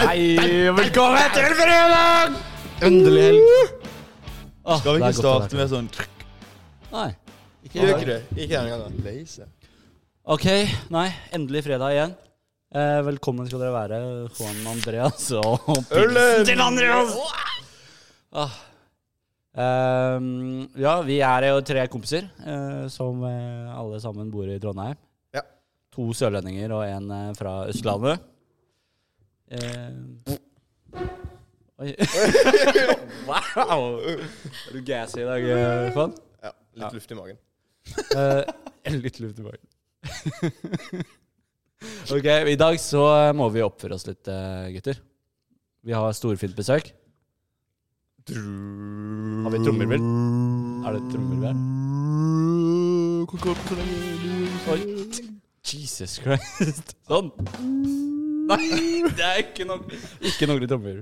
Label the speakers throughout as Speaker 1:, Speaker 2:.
Speaker 1: Hei, og velkommen til fredag!
Speaker 2: Endelig helg.
Speaker 1: Åh, Ah,
Speaker 3: Skal vi
Speaker 1: det er
Speaker 3: ikke
Speaker 1: godt å
Speaker 3: starte
Speaker 1: være
Speaker 3: med sånn
Speaker 1: klar. Nei.
Speaker 2: Gjør ikke det. Ikke denne gangen. Leise.
Speaker 1: Ok, nei. Endelig fredag igjen. Eh, velkommen skal dere være, Juan Andreas og
Speaker 2: Ølen!
Speaker 1: Pilsen til Andreas! Ah. Ehm, ja, vi er jo tre kompiser eh, som eh, alle sammen bor i Trondheim.
Speaker 2: Ja.
Speaker 1: To sørlendinger og en eh, fra Østlandet. Eh, oi. wow! Er du gassy i dag, eh, Juan?
Speaker 2: Ja, litt luft i magen.
Speaker 1: Eh, litt luft i magen. ok, i dag så eh, må vi oppføre oss litt, eh, gutter. Vi har storfint besøk.
Speaker 3: Har vi trommevirvel?
Speaker 1: Mm. Er det trommer der? Oi. Jesus Christ. Sånn. Nei, det er ikke nok Ikke noe trommer.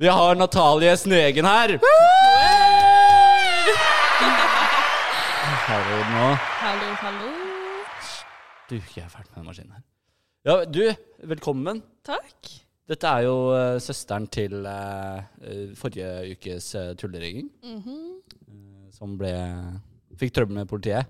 Speaker 1: Vi har Natalie Snegen her. Har vi den nå?
Speaker 4: Hallo, hallo.
Speaker 1: Du, jeg er ferdig med den maskinen her. Ja, du, velkommen.
Speaker 4: Takk.
Speaker 1: Dette er jo eh, søsteren til eh, eh, forrige ukes uh, tullerigging,
Speaker 4: Mhm.
Speaker 1: eh, som ble Fikk trøbbel med politiet.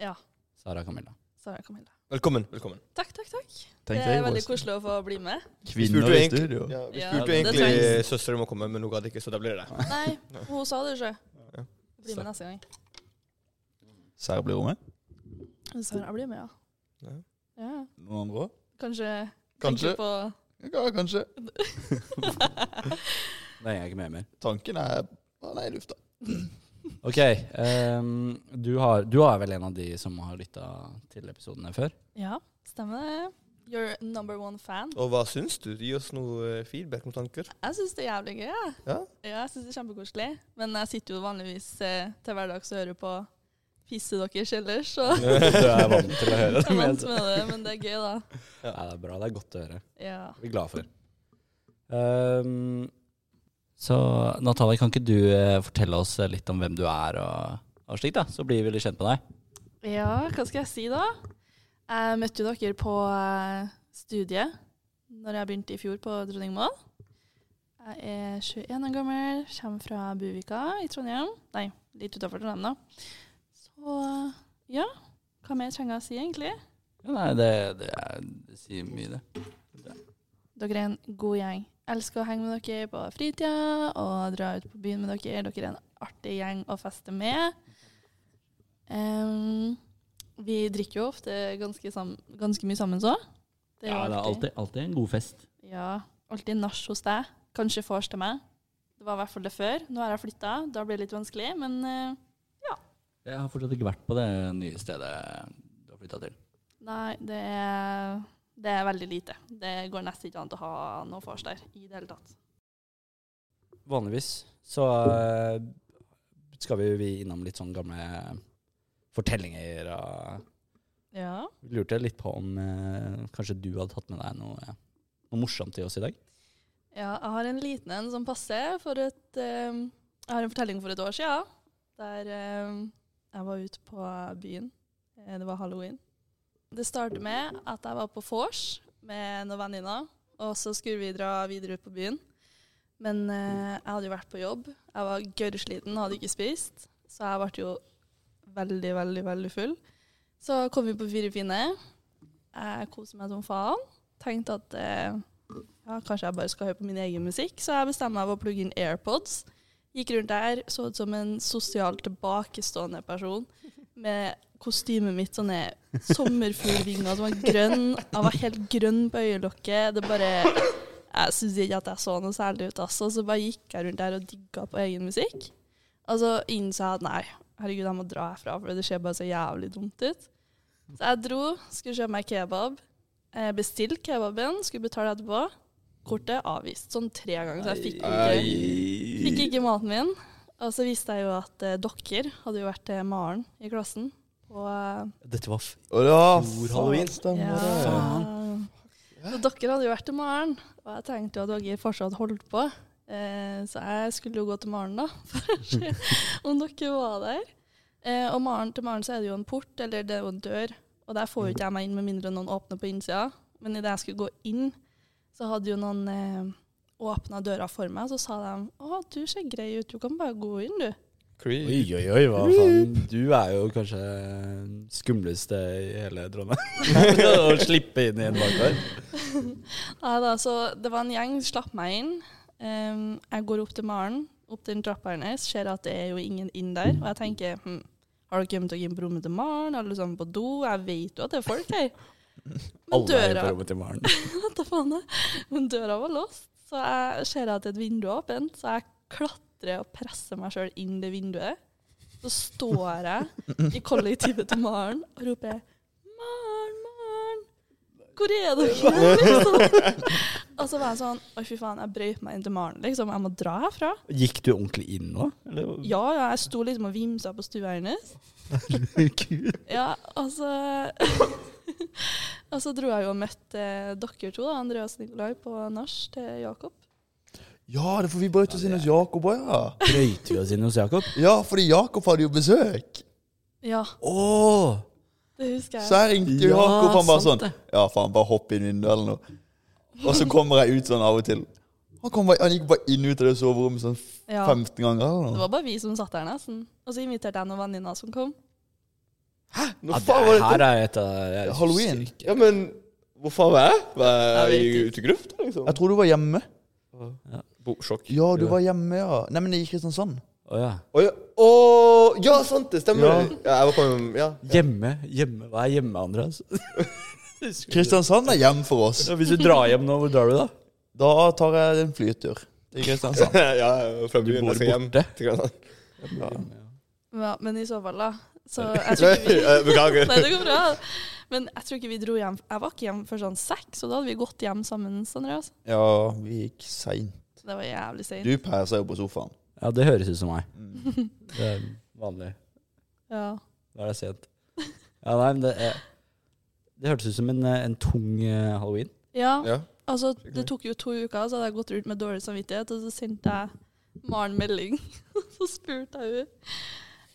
Speaker 4: Ja,
Speaker 1: Sara Camilla.
Speaker 4: så er jeg Camilla.
Speaker 2: Velkommen. velkommen.
Speaker 4: Takk, takk, takk.
Speaker 3: Tenk
Speaker 4: det
Speaker 3: deg,
Speaker 4: er veldig
Speaker 3: Åse.
Speaker 4: koselig å få bli med.
Speaker 2: Spurte
Speaker 3: Kvinner
Speaker 2: du
Speaker 3: i
Speaker 2: egentlig-
Speaker 3: studio.
Speaker 2: Ja, vi
Speaker 4: Ja,
Speaker 2: spurte
Speaker 4: det
Speaker 2: egentlig søstera om å komme, men hun gadd ikke, så da blir det det.
Speaker 4: Nei, hun sa det jo sjøl.
Speaker 2: Ja.
Speaker 4: Bli med neste gang.
Speaker 3: Serr blir med.
Speaker 4: Så jeg blir med,
Speaker 2: Ja.
Speaker 4: ja. ja.
Speaker 3: Noen andre òg?
Speaker 4: Kanskje
Speaker 3: Kanskje.
Speaker 4: tenke på
Speaker 3: Ja, kanskje.
Speaker 1: Det er jeg ikke med mer.
Speaker 3: Tanken er Han er i lufta.
Speaker 1: Ok, ehm, du, har, du er vel en av de som har lytta til episodene før?
Speaker 4: Ja, stemmer det. Your number one fan.
Speaker 2: Og hva syns du? Gi oss noe eh, feedback noen tanker.
Speaker 4: Jeg syns det er jævlig gøy. jeg.
Speaker 2: Ja?
Speaker 4: Ja, jeg syns det er kjempekoselig. Men jeg sitter jo vanligvis eh, til hverdags og hører på pisset deres ellers, så
Speaker 1: Du er vant til å høre
Speaker 4: jeg
Speaker 1: det?
Speaker 4: er vant
Speaker 1: men-
Speaker 4: med det. Men det er gøy, da.
Speaker 1: Nei, det er bra. Det er godt å høre.
Speaker 4: Ja.
Speaker 1: Vi er glad for. Ehm, så Natalie, kan ikke du eh, fortelle oss eh, litt om hvem du er og, og slik, da? Så blir vi litt kjent med deg.
Speaker 4: Ja, hva skal jeg si da? Jeg møtte jo dere på eh, studiet når jeg begynte i fjor på Dronning Maud. Jeg er 21 år gammel, kommer fra Buvika i Trondheim. Nei, litt utenfor Trondheim da. Så ja, hva mer trenger jeg å si egentlig?
Speaker 1: Ja, nei, det, det, er, det sier mye, det.
Speaker 4: Dere er en god gjeng. Elsker å henge med dere på fritida og dra ut på byen med dere. Dere er en artig gjeng å feste med. Em, vi drikker jo ofte ganske, sam ganske mye sammen så. Det jo
Speaker 1: alltid en god fest.
Speaker 4: Ja, alltid nach hos deg. Kanskje vors til meg. Det var i hvert fall det før. Nå har jeg flytta, da blir det litt vanskelig, men eh,
Speaker 1: Jeg har fortsatt ikke vært på det nye stedet du har flytta til.
Speaker 4: nei, det er, det er veldig lite. Det går nesten ikke an å ha noe vors der i det hele tatt.
Speaker 1: Vanligvis så eh, skal vi, vi innom litt sånn gamle fortellinger og
Speaker 4: Ja.
Speaker 1: Vi lurte litt på om eh, kanskje du hadde tatt med deg noe, noe morsomt til oss i dag?
Speaker 4: Ja, jeg har en liten en som passer. For et, eh, jeg har en fortelling for et år siden. Der eh, jeg var ute på byen. Eh, Det var halloween. Det startet med at jeg var på vors med noen venninner. Og så skulle vi dra videre ut på byen. Men eh, jeg hadde jo vært på jobb. Jeg var gørrsliten, hadde ikke spist. Så jeg ble jo veldig, veldig, veldig full. Så kom vi på Fire fine. Jeg koste meg som faen. Tenkte at eh, ja, kanskje jeg bare skal høre på min egen musikk, så jeg bestemmer meg for å plugge inn AirPods. Gikk rundt der, så ut som en sosialt tilbakestående person med kostymet mitt, sånne sommerfuglvinger som var grønn. Jeg var helt grønn på øyelokket. Det bare Jeg syns ikke at jeg så noe særlig ut, altså. Så bare gikk jeg rundt der og digga på egen musikk. Og så innså jeg at nei, herregud, jeg må dra herfra, for det ser bare så jævlig dumt ut. Så jeg dro, skulle kjøpe meg kebab. Eh, Bestilte kebaben, skulle betale etterpå. Kortet avvist sånn tre ganger, så jeg fikk ikke, fikk ikke maten min. Og så visste jeg jo at eh, dere hadde jo vært til Maren i klassen. Og eh,
Speaker 1: Dette var f...
Speaker 3: Og da
Speaker 1: Stor halloween.
Speaker 3: stemmer det.
Speaker 4: faen. Så dere hadde jo vært til Maren, og jeg tenkte jo at dere fortsatt holdt på. Eh, så jeg skulle jo gå til Maren, da, for å se om dere var der. Eh, og Maren, til Maren så er det jo en port, eller det er jo en dør, og der får jo ikke jeg meg inn med mindre noen åpner på innsida. Men idet jeg skulle gå inn, så hadde jo noen eh, åpna døra for meg, så sa de å, du ser grei ut, du kan bare gå inn, du.
Speaker 2: Creep.
Speaker 1: Oi, oi, oi, hva faen. Du er jo kanskje den skumleste i hele Trondheim. Å slippe inn i en bakgård.
Speaker 4: Nei da, så det var en gjeng, slapp meg inn. Ehm, jeg går opp til Maren, opp til den trapperen hennes, ser at det er jo ingen inn der. Og jeg tenker hm, har dere gjemt dere inn på rommet til Maren? Har dere sammen på do? Jeg vet jo at det er folk her. Men
Speaker 1: Alle er
Speaker 4: døra,
Speaker 1: på rommet til Maren.
Speaker 4: Hva da faen er? Men døra var låst, så jeg ser at et vindu er åpent. Så jeg klatrer og presser meg sjøl inn det vinduet. Så står jeg i kollektivet til Maren og roper 'Maren, Maren, hvor er dere?' Liksom. Og så var jeg sånn Oi, fy faen, jeg brøyt meg inn til Maren, liksom. Jeg må dra herfra.
Speaker 1: Gikk du ordentlig inn nå?
Speaker 4: Ja, ja, jeg sto liksom og vimsa på stua hennes. Ja, og så Og så dro jeg jo og møtte dere to, da, Andreas og Nikolai, på nach til Jakob.
Speaker 3: Ja, det får vi brøt oss inn hos Jakob òg, ja.
Speaker 1: Brøyte vi oss inn hos Jakob?
Speaker 3: Ja, fordi Jakob hadde jo besøk.
Speaker 4: Ja,
Speaker 1: Åh!
Speaker 4: det husker jeg.
Speaker 3: Så jeg ringte jo
Speaker 1: Ja,
Speaker 3: Jakob, han bare
Speaker 1: sant
Speaker 3: sånn
Speaker 1: det.
Speaker 3: Ja, faen, bare hopp inn vinduet eller noe. Og så kommer jeg ut sånn av og til. Han, kom bare, han gikk bare inn ut av det soverommet sånn
Speaker 4: Ja.
Speaker 3: 15 ganger eller
Speaker 4: Det
Speaker 3: noe.
Speaker 4: var bare vi som satt der, nesten. Og så inviterte jeg noen venninner som kom.
Speaker 2: Nå
Speaker 1: Ja,
Speaker 2: faen
Speaker 1: det
Speaker 2: var
Speaker 1: her
Speaker 2: det
Speaker 1: er et av jeg-
Speaker 3: Halloween.
Speaker 2: Ja, men hvor faen var jeg? Var jeg
Speaker 4: Jeg
Speaker 2: i
Speaker 4: vet
Speaker 2: utegruft, liksom?
Speaker 3: Jeg tror du var hjemme.
Speaker 2: Bo, sjokk.
Speaker 3: Ja, du var hjemme, ja. Nei, men i Kristiansand.
Speaker 1: Å ja.
Speaker 2: Å ja. Å, ja, sant det. Stemmer
Speaker 3: Ja.
Speaker 2: det. Ja, jeg var på Ja.
Speaker 1: Hjemme. hjemme. Hva er hjemme, Andreas?
Speaker 3: Kristiansand er hjem for oss.
Speaker 1: Ja, Hvis du drar hjem nå, hvor drar du da?
Speaker 3: Da tar jeg en flytur til Kristiansand.
Speaker 2: ja, jeg var fra byen.
Speaker 1: bor
Speaker 2: Jeg skal hjem
Speaker 1: borte.
Speaker 2: til Grønland.
Speaker 4: Ja, men i så fall, da. Så jeg tror ikke vi
Speaker 2: Eh, Beklager.
Speaker 4: Nei, det går bra. Men jeg tror ikke vi dro hjem Jeg var ikke hjemme før sånn seks, og da hadde vi gått hjem sammen, Andreas.
Speaker 3: Ja, vi gikk seint.
Speaker 4: Det var jævlig seint.
Speaker 3: Du perser jo på sofaen.
Speaker 1: Ja, det høres ut som meg.
Speaker 4: Mm.
Speaker 1: Det er vanlig.
Speaker 4: Ja.
Speaker 1: Da er det sent. Ja, nei, men det, er, det hørtes ut som en, eh, en tung eh, halloween.
Speaker 4: ja,
Speaker 2: Ja.
Speaker 4: altså, det tok jo to uker, så hadde jeg gått rundt med dårlig samvittighet, og så sendte jeg Maren melding. så spurte jeg henne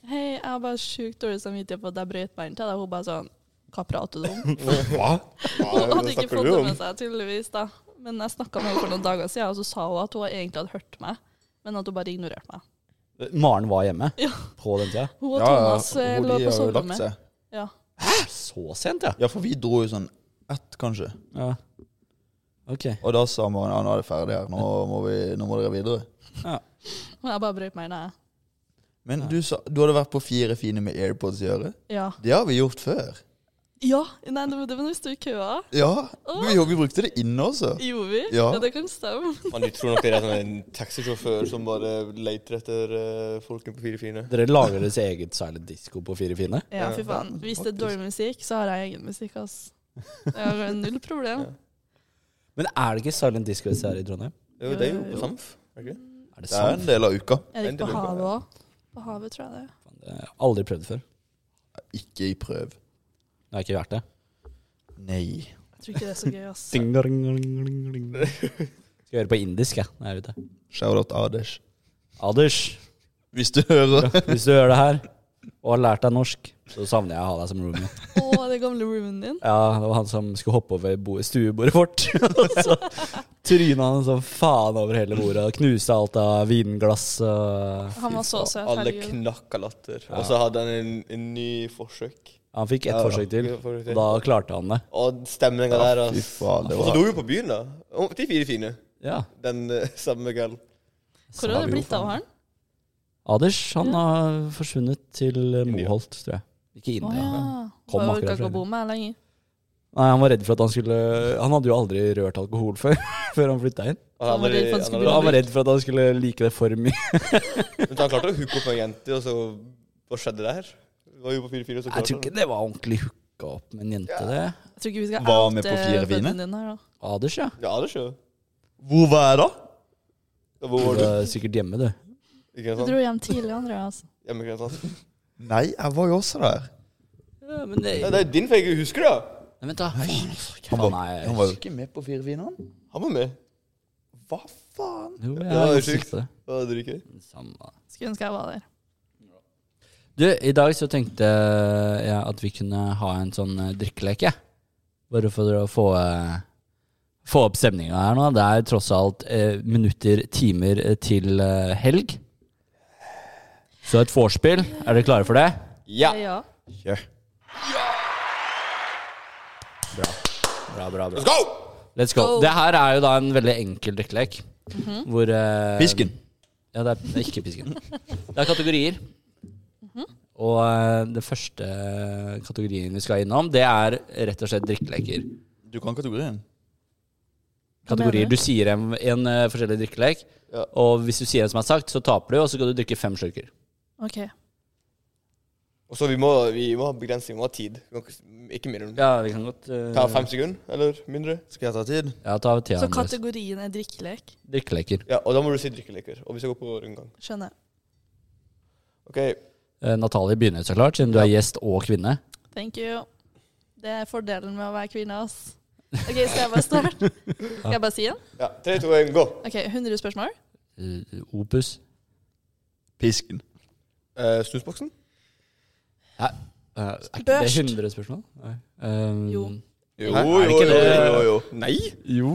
Speaker 4: Hei, jeg har bare sjukt dårlig samvittighet på at jeg brøt meg inn til deg. Hun bare sånn Hva prater du om?
Speaker 2: Hva?
Speaker 4: Hun
Speaker 2: Hva
Speaker 4: hadde ikke
Speaker 2: snakker
Speaker 4: fått
Speaker 2: du
Speaker 4: det
Speaker 2: om?
Speaker 4: med altså. seg, tydeligvis. da. Men jeg snakka med henne for noen dager siden, og så sa hun at hun egentlig hadde hørt meg, men at hun bare ignorerte meg.
Speaker 1: Maren var hjemme
Speaker 4: Ja.
Speaker 1: på den tida.
Speaker 4: Hun og Thomas eh,
Speaker 3: og
Speaker 4: lå
Speaker 3: de har jo
Speaker 4: på
Speaker 3: lagt
Speaker 4: soverommet.
Speaker 3: seg.
Speaker 4: Ja.
Speaker 1: Så sent, ja.
Speaker 3: Ja, for vi dro jo sånn ett, kanskje.
Speaker 1: ja. Ok.
Speaker 3: Og da sa man ja, nå er det ferdig her, nå må, vi, nå må dere videre.
Speaker 4: Og jeg bare brøt meg inn, jeg.
Speaker 3: Men du, sa, du hadde vært på fire fine med AirPods i øret.
Speaker 4: Ja.
Speaker 3: Det har vi gjort før.
Speaker 4: ja. Nei, det var det var når vi sto i køa.
Speaker 3: Ja, vi, vi brukte det inne også.
Speaker 4: Gjorde vi?
Speaker 3: Ja.
Speaker 4: det kan stemme.
Speaker 2: Man, du tror nok dere er sånn en taxisjåfør som bare leter etter eh, folkene på fire fine.
Speaker 1: Dere lager deres eget silent disco på Fire fine?
Speaker 4: Ja, fy faen. Hvis det er dårlig musikk, så har jeg egen musikk, ass. Jeg har null problem.
Speaker 1: Men er det ikke silent disco hvis det er i Trondheim?
Speaker 2: Jo, det er jo på Samf. er det ikke det?
Speaker 1: Er det
Speaker 3: Det er
Speaker 1: sant?
Speaker 3: en del av uka.
Speaker 4: Er det ikke
Speaker 2: Endelig.
Speaker 4: på havet òg? På havet, tror jeg det. er.
Speaker 1: Faen, det har jeg aldri prøvd før.
Speaker 3: Ikke i prøv.
Speaker 1: Det har ikke vært det.
Speaker 3: Nei.
Speaker 4: Jeg tror ikke det er så gøy, ass.
Speaker 1: Ding, ding, ding, ding, ding. Skal gjøre det på indisk, jeg, når jeg er ute.
Speaker 3: Shout-out Adesh.
Speaker 1: Anders,
Speaker 3: Hvis du hører.
Speaker 1: hvis du gjør det her, og har lært deg norsk, så savner jeg å ha deg som roomie.
Speaker 4: Å, det gamle roomien din.
Speaker 1: Ja, det var han som skulle hoppe over bo- stuebordet vårt. Og så tryna han sånn faen over hele bordet og knuste alt av vinglass. Og
Speaker 4: Han var så søt.
Speaker 2: Alle
Speaker 4: Herregud.
Speaker 2: knakk av latter. Og så hadde han en, en ny forsøk.
Speaker 1: han fikk ett
Speaker 3: Ja,
Speaker 1: forsøk til,
Speaker 2: ja, forsøk
Speaker 1: og
Speaker 2: til.
Speaker 1: da klarte han det.
Speaker 2: Og stemninga der,
Speaker 3: Fy
Speaker 2: altså.
Speaker 3: faen, det
Speaker 2: Og så
Speaker 3: var
Speaker 2: dro vi på byen, da. Å, De fire fine.
Speaker 1: Ja.
Speaker 2: Den eh, samme kvelden.
Speaker 4: Hvor har det blitt av han?
Speaker 1: Anders han har forsvunnet til Moholt, tror jeg. Ikke
Speaker 4: Å
Speaker 1: India.
Speaker 4: ja.
Speaker 1: Kom
Speaker 4: Bare
Speaker 1: akkurat
Speaker 4: orka ikke
Speaker 1: fra
Speaker 4: å bo med meg lenger.
Speaker 1: Nei, Han var redd for at han skulle Han hadde jo aldri rørt alkohol før, før han flytta inn.
Speaker 2: Og
Speaker 4: Han var redd for han skulle bli
Speaker 1: Han
Speaker 2: han
Speaker 1: var redd for at han skulle like det for mye.
Speaker 2: Men han klarte å hooke opp med ei jente, og så Hva skjedde der? Vi var jo på fire fine, og så
Speaker 1: Jeg tror
Speaker 2: klarte
Speaker 1: ikke det var ordentlig hooka opp med en jente, det.
Speaker 4: Jeg tror ikke vi skal
Speaker 3: Var med
Speaker 4: oute
Speaker 3: på fire fine?
Speaker 4: vennen din her, da.
Speaker 1: Anders, ja.
Speaker 2: han. Ja, det skjer.
Speaker 3: Hvor var jeg da?
Speaker 2: Da Hvor
Speaker 1: Du
Speaker 2: var du?
Speaker 1: var sikkert hjemme, du.
Speaker 2: I
Speaker 4: Du
Speaker 2: Kristiansand?
Speaker 4: dro hjem tidlig, Andreas.
Speaker 2: Hjemme i Kristiansand?
Speaker 3: Nei, jeg var jo også der.
Speaker 1: Ja, men det
Speaker 2: Ja, det er din feige husker, da.
Speaker 1: Nei, vent, da.
Speaker 3: Han
Speaker 1: Faen,
Speaker 3: var,
Speaker 1: nei.
Speaker 3: han var jo ikke med på fire fine, han.
Speaker 2: Han var med.
Speaker 3: Hva faen?
Speaker 1: Jo, jeg er
Speaker 2: var jo
Speaker 1: ganske sikker
Speaker 2: sjukt.
Speaker 1: på det.
Speaker 2: Da drikker
Speaker 1: Samme.
Speaker 4: Skulle ønske jeg var der.
Speaker 1: Du, i dag så tenkte jeg at vi kunne ha en sånn eh, drikkeleke. Bare for å få, eh, få opp stemninga her nå. Det er tross alt eh, minutter, timer eh, til eh, helg. Så et vorspiel. Er dere klare for det?
Speaker 2: Ja.
Speaker 4: Ja.
Speaker 3: Kjør.
Speaker 1: Bra, bra, bra.
Speaker 2: Let's go!
Speaker 1: Let's go.
Speaker 4: Go.
Speaker 1: Det her er jo da en veldig enkel drikkelek. Hvor eh,
Speaker 3: Pisken.
Speaker 1: Ja, det er, det er ikke pisken. Det er kategorier. Og eh, det første kategorien vi skal innom, det er rett og slett drikkeleker.
Speaker 3: Du kan kategorien.
Speaker 1: Kategorier.
Speaker 4: mener du?
Speaker 1: Du sier en, en eh, forskjellig drikkelek,
Speaker 2: Ja.
Speaker 1: og hvis du sier en som er sagt, så taper du, og så skal du drikke fem slurker.
Speaker 4: OK.
Speaker 2: Og så vi må, vi må ha begrensning, vi må ha tid. Vi må ikke- Ikke mindre. enn-
Speaker 1: Ja, vi kan godt eh,
Speaker 2: Ta fem sekunder, eller mindre.
Speaker 3: Skal jeg ta tid?
Speaker 1: Ja, ta tida
Speaker 4: Så
Speaker 1: deres.
Speaker 4: kategorien er drikkelek.
Speaker 1: Drikkeleker.
Speaker 2: Ja, og da må du si drikkeleker. Og vi skal gå på rundgang.
Speaker 4: Skjønner.
Speaker 2: OK.
Speaker 1: Eh, Natalie begynner så klart, siden du er gjest og kvinne.
Speaker 4: Thank you. Det er fordelen med å være kvinne, ass. OK, skal jeg bare starte? Skal jeg bare si den?
Speaker 2: Ja, tre, to, én, gå.
Speaker 4: OK, 100 spørsmål?
Speaker 1: Eh, Opus.
Speaker 3: Pisken.
Speaker 2: Eh, snusboksen?
Speaker 1: Eh, er ikke
Speaker 4: Børst.
Speaker 1: det 100 spørsmål? Nei. Eh,
Speaker 4: Jo.
Speaker 3: Jo,
Speaker 2: Hæ?
Speaker 1: Er det ikke det?
Speaker 3: jo.
Speaker 2: Nei.
Speaker 1: Jo.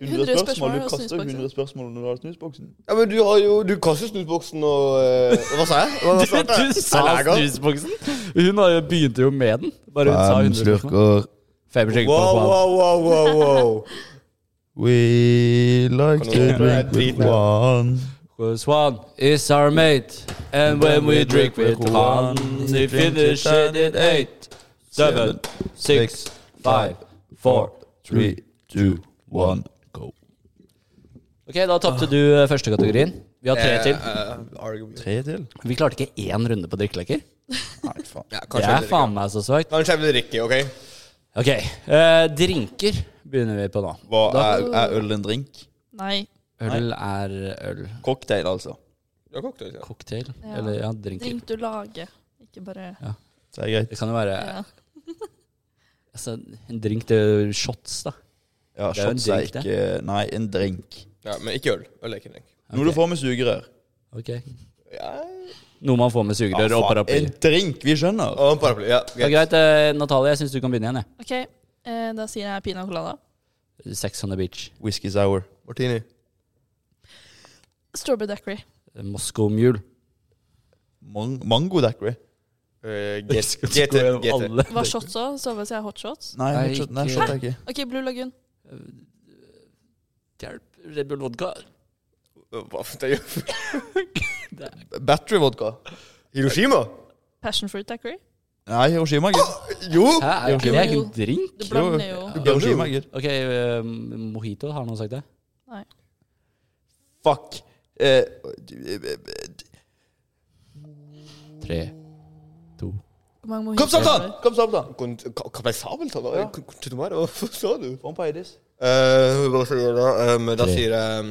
Speaker 3: 100
Speaker 4: 100
Speaker 3: spørsmål.
Speaker 4: spørsmål
Speaker 3: Du
Speaker 4: og
Speaker 3: kaster
Speaker 4: snusboksen.
Speaker 3: 100 spørsmål når du har snusboksen.
Speaker 2: Ja, men du har jo Du kaster snusboksen og eh, Hva sa jeg? Hva, hva
Speaker 1: Du,
Speaker 2: svarte jeg?
Speaker 1: du sa
Speaker 2: Nei, jeg kan-
Speaker 1: snusboksen. Hun har jo begynte jo med den. Bare hun sa 100 spørsmål. Fem slurker på
Speaker 2: Wow,
Speaker 1: faen.
Speaker 2: wow, wow, wow, wow.
Speaker 3: We like
Speaker 2: Kan du
Speaker 3: to
Speaker 2: håpe det er
Speaker 3: drink with
Speaker 2: dritbra.
Speaker 3: one.
Speaker 1: 'Cause one is our mate, and when we drink with one, we finish it in eight, seven, six, five, four.
Speaker 3: Three, two, one, go.
Speaker 1: Ok, da tapte du eh, første kategorien. Vi har
Speaker 2: Eh,
Speaker 1: tre til.
Speaker 2: Arguably.
Speaker 3: Tre til?
Speaker 1: Vi klarte ikke én runde på drikkeleker.
Speaker 3: Nei, faen.
Speaker 2: Ja,
Speaker 1: Det
Speaker 2: kanskje
Speaker 1: er
Speaker 2: jeg blir-
Speaker 1: faen meg så svakt.
Speaker 2: Kanskje jeg blir Ricky, OK?
Speaker 1: Ok, eh, drinker begynner vi på nå.
Speaker 3: Hva er, er øl en drink?
Speaker 4: Nei.
Speaker 1: Øl er øl.
Speaker 3: Cocktail, altså.
Speaker 2: Ja, cocktail, ja.
Speaker 1: Cocktail?
Speaker 4: Ja.
Speaker 1: Eller ja, drinker.
Speaker 4: Drink du lager, ikke bare
Speaker 3: Det er greit.
Speaker 1: Det kan jo være
Speaker 4: ja.
Speaker 1: altså, en drink til shots, da.
Speaker 3: Ja,
Speaker 1: Det er jo en
Speaker 3: shots er
Speaker 1: drink, det.
Speaker 3: ikke Nei, en drink.
Speaker 2: ja. Men ikke øl. Øl er ikke en drink.
Speaker 3: Noe du får med sugerør.
Speaker 1: Ok
Speaker 2: Ja.
Speaker 1: Noe man får med
Speaker 3: Ja,
Speaker 1: sugerør og
Speaker 3: Ah, faen,
Speaker 1: paraply.
Speaker 3: En drink, vi skjønner.
Speaker 2: Og en paraply. Ja,
Speaker 1: Ja,
Speaker 2: greit.
Speaker 1: greit, eh, Natalie, jeg syns du kan begynne igjen.
Speaker 4: OK, eh, da sier jeg pina colada.
Speaker 1: jeg Sex on the beach.
Speaker 3: Whisky sour.
Speaker 2: Martini.
Speaker 4: Strawberry daiquiri.
Speaker 1: Moscow-mule.
Speaker 3: Mang mango daiquiri.
Speaker 2: Eh, G-
Speaker 1: Skal vi
Speaker 2: GT.
Speaker 1: gå gjennom
Speaker 2: GT.
Speaker 1: alle?
Speaker 4: Hva shots òg? Så hvis jeg har hot shots?
Speaker 3: Nei,
Speaker 1: Nei,
Speaker 3: fortsatt, nei,
Speaker 1: ikke-
Speaker 3: shot er ikke.
Speaker 4: OK, Blue Lagoon.
Speaker 1: Hjelp, Red Bull vodka.
Speaker 2: Hva for det gjør
Speaker 3: Battery vodka.
Speaker 2: Hiroshima?
Speaker 4: Passion fruit daiquiri.
Speaker 3: Nei, Hiroshima, gitt.
Speaker 2: Jo!
Speaker 1: Hæ, er ikke det
Speaker 4: Hiroshima.
Speaker 1: ikke en drink?
Speaker 4: Du blander jo
Speaker 3: Hiroshima, gitt.
Speaker 1: Ok, eh, mojito, har noen sagt det?
Speaker 3: Fuck. Eh, d- d- d-
Speaker 1: Tre, to
Speaker 4: Hvor mange mojitos
Speaker 3: kom
Speaker 4: er
Speaker 3: samtalen!
Speaker 4: det?
Speaker 3: Kom samtalen!
Speaker 2: Kapasabeltann?
Speaker 3: Ja.
Speaker 2: Hva sa du?
Speaker 3: Få en Paidis.
Speaker 2: Eh, hva skal jeg gjøre da? Eh, men da
Speaker 1: Tre.
Speaker 2: sier jeg um,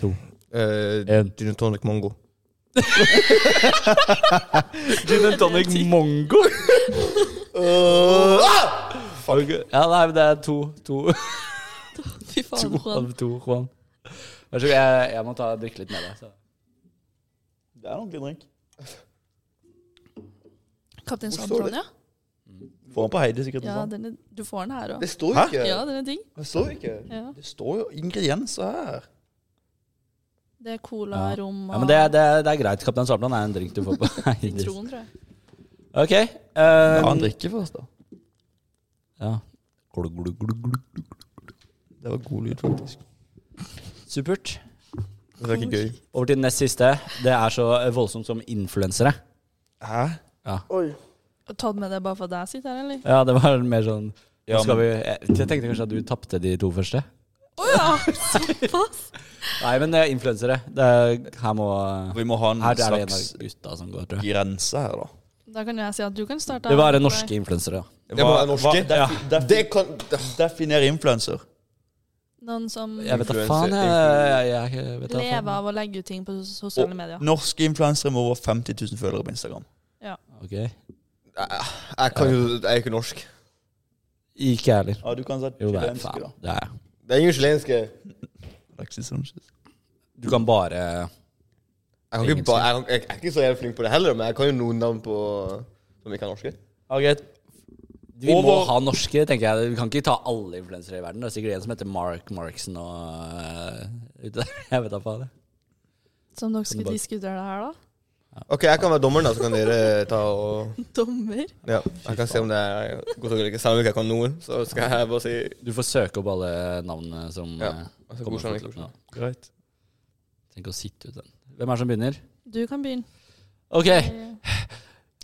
Speaker 1: To.
Speaker 2: Uh,
Speaker 1: En.
Speaker 2: Gin and tonic mango.
Speaker 1: Gin and tonic mongo.
Speaker 2: Ah!
Speaker 1: Ja, nei, men det er to. To.
Speaker 4: Fy faen, Juan.
Speaker 1: Av to, Juan. Vær så god, jeg, jeg må ta drikke litt med deg. Så.
Speaker 3: Det er en ordentlig drink.
Speaker 4: Kaptein
Speaker 2: Hvor står
Speaker 4: Sabeltann, ja.
Speaker 3: Få en på Heidi, sikkert.
Speaker 4: ja
Speaker 3: sånn.
Speaker 4: den er, du får den her òg.
Speaker 2: Det står
Speaker 3: Hæ?
Speaker 2: ikke.
Speaker 4: Ja, den er digg.
Speaker 2: Det står ikke.
Speaker 4: Ja.
Speaker 3: Det står jo ingredienser her.
Speaker 4: Det er cola,
Speaker 1: Ja.
Speaker 4: rom og
Speaker 1: Ja, men det, er- det, er- det er greit. Kaptein Sabeltann er en drink du får på Heidis.
Speaker 4: sitron, tror jeg.
Speaker 1: Ok. eh,
Speaker 3: La han drikke først, da.
Speaker 1: ja.
Speaker 3: Det var god lyd, faktisk.
Speaker 1: Supert.
Speaker 2: Det er ikke gøy.
Speaker 1: Over til den nest siste. Det er så voldsomt som influensere.
Speaker 3: Hæ?
Speaker 4: Og Tatt med det bare for deg sitter her, eller?
Speaker 1: Ja, det var mer sånn
Speaker 3: Ja,
Speaker 1: nå skal vi, jeg, jeg tenkte kanskje at du tapte de to første.
Speaker 4: Å ja! Såpass!
Speaker 1: Nei, men eh, influensere. Det er, her må
Speaker 3: Vi må ha en
Speaker 1: Her er det en
Speaker 3: slags
Speaker 1: av gutta som går, tror jeg.
Speaker 3: grense her, da.
Speaker 4: Da kan jeg si at du kan starte.
Speaker 1: Det var
Speaker 4: her.
Speaker 1: norske influensere. da.
Speaker 2: Det må være norske.
Speaker 3: hva-
Speaker 1: Ja.
Speaker 3: defi- defi-
Speaker 2: Det kan
Speaker 3: Definer influencer.
Speaker 4: Noen som
Speaker 1: Jeg vet da
Speaker 2: Influencer,
Speaker 1: faen. Jeg, jeg, jeg vet da
Speaker 4: lever
Speaker 1: faen.
Speaker 4: av å legge ut ting på sos- sosiale medier.
Speaker 3: Norske influensere med over 50 000 følgere på Instagram.
Speaker 1: Ok.
Speaker 2: Jeg kan jo Jeg er ikke norsk.
Speaker 1: Ikke jeg heller.
Speaker 3: Ja, du kan si
Speaker 1: Jo, det er
Speaker 3: chilenske,
Speaker 1: faen.
Speaker 3: da.
Speaker 1: Det er jeg.
Speaker 2: Det er ingen chilenske.
Speaker 3: Alexis Sanchez.
Speaker 1: Du kan bare
Speaker 2: Jeg, kan ikke ba, jeg, kan- jeg er ikke så jævlig flink på det heller, men jeg kan jo noen navn på som ikke er norske.
Speaker 3: Ja, greit.
Speaker 1: Vi må
Speaker 2: Over-
Speaker 1: ha norske, tenker jeg. Vi kan ikke ta alle influensere i verden. Det er sikkert en som heter Mark Markson og eh, ute der. Jeg vet da faen. jeg.
Speaker 4: Som dere skulle diskutere det her, da.
Speaker 2: OK, jeg kan være dommeren, da, så kan dere ta og
Speaker 4: Dommer.
Speaker 2: Ja, jeg kan se om det er godt eller ikke. Selv om jeg ikke kan noen, så skal jeg bare si
Speaker 1: Du får søke opp alle navnene som
Speaker 2: Ja,
Speaker 1: eh,
Speaker 2: altså,
Speaker 1: kommer
Speaker 2: godkjenner,
Speaker 1: på slutten.
Speaker 2: godkjenner.
Speaker 1: Ja. Tenk å sitte ut den. Hvem er det som begynner?
Speaker 4: Du kan begynne.
Speaker 1: OK!
Speaker 4: Eh,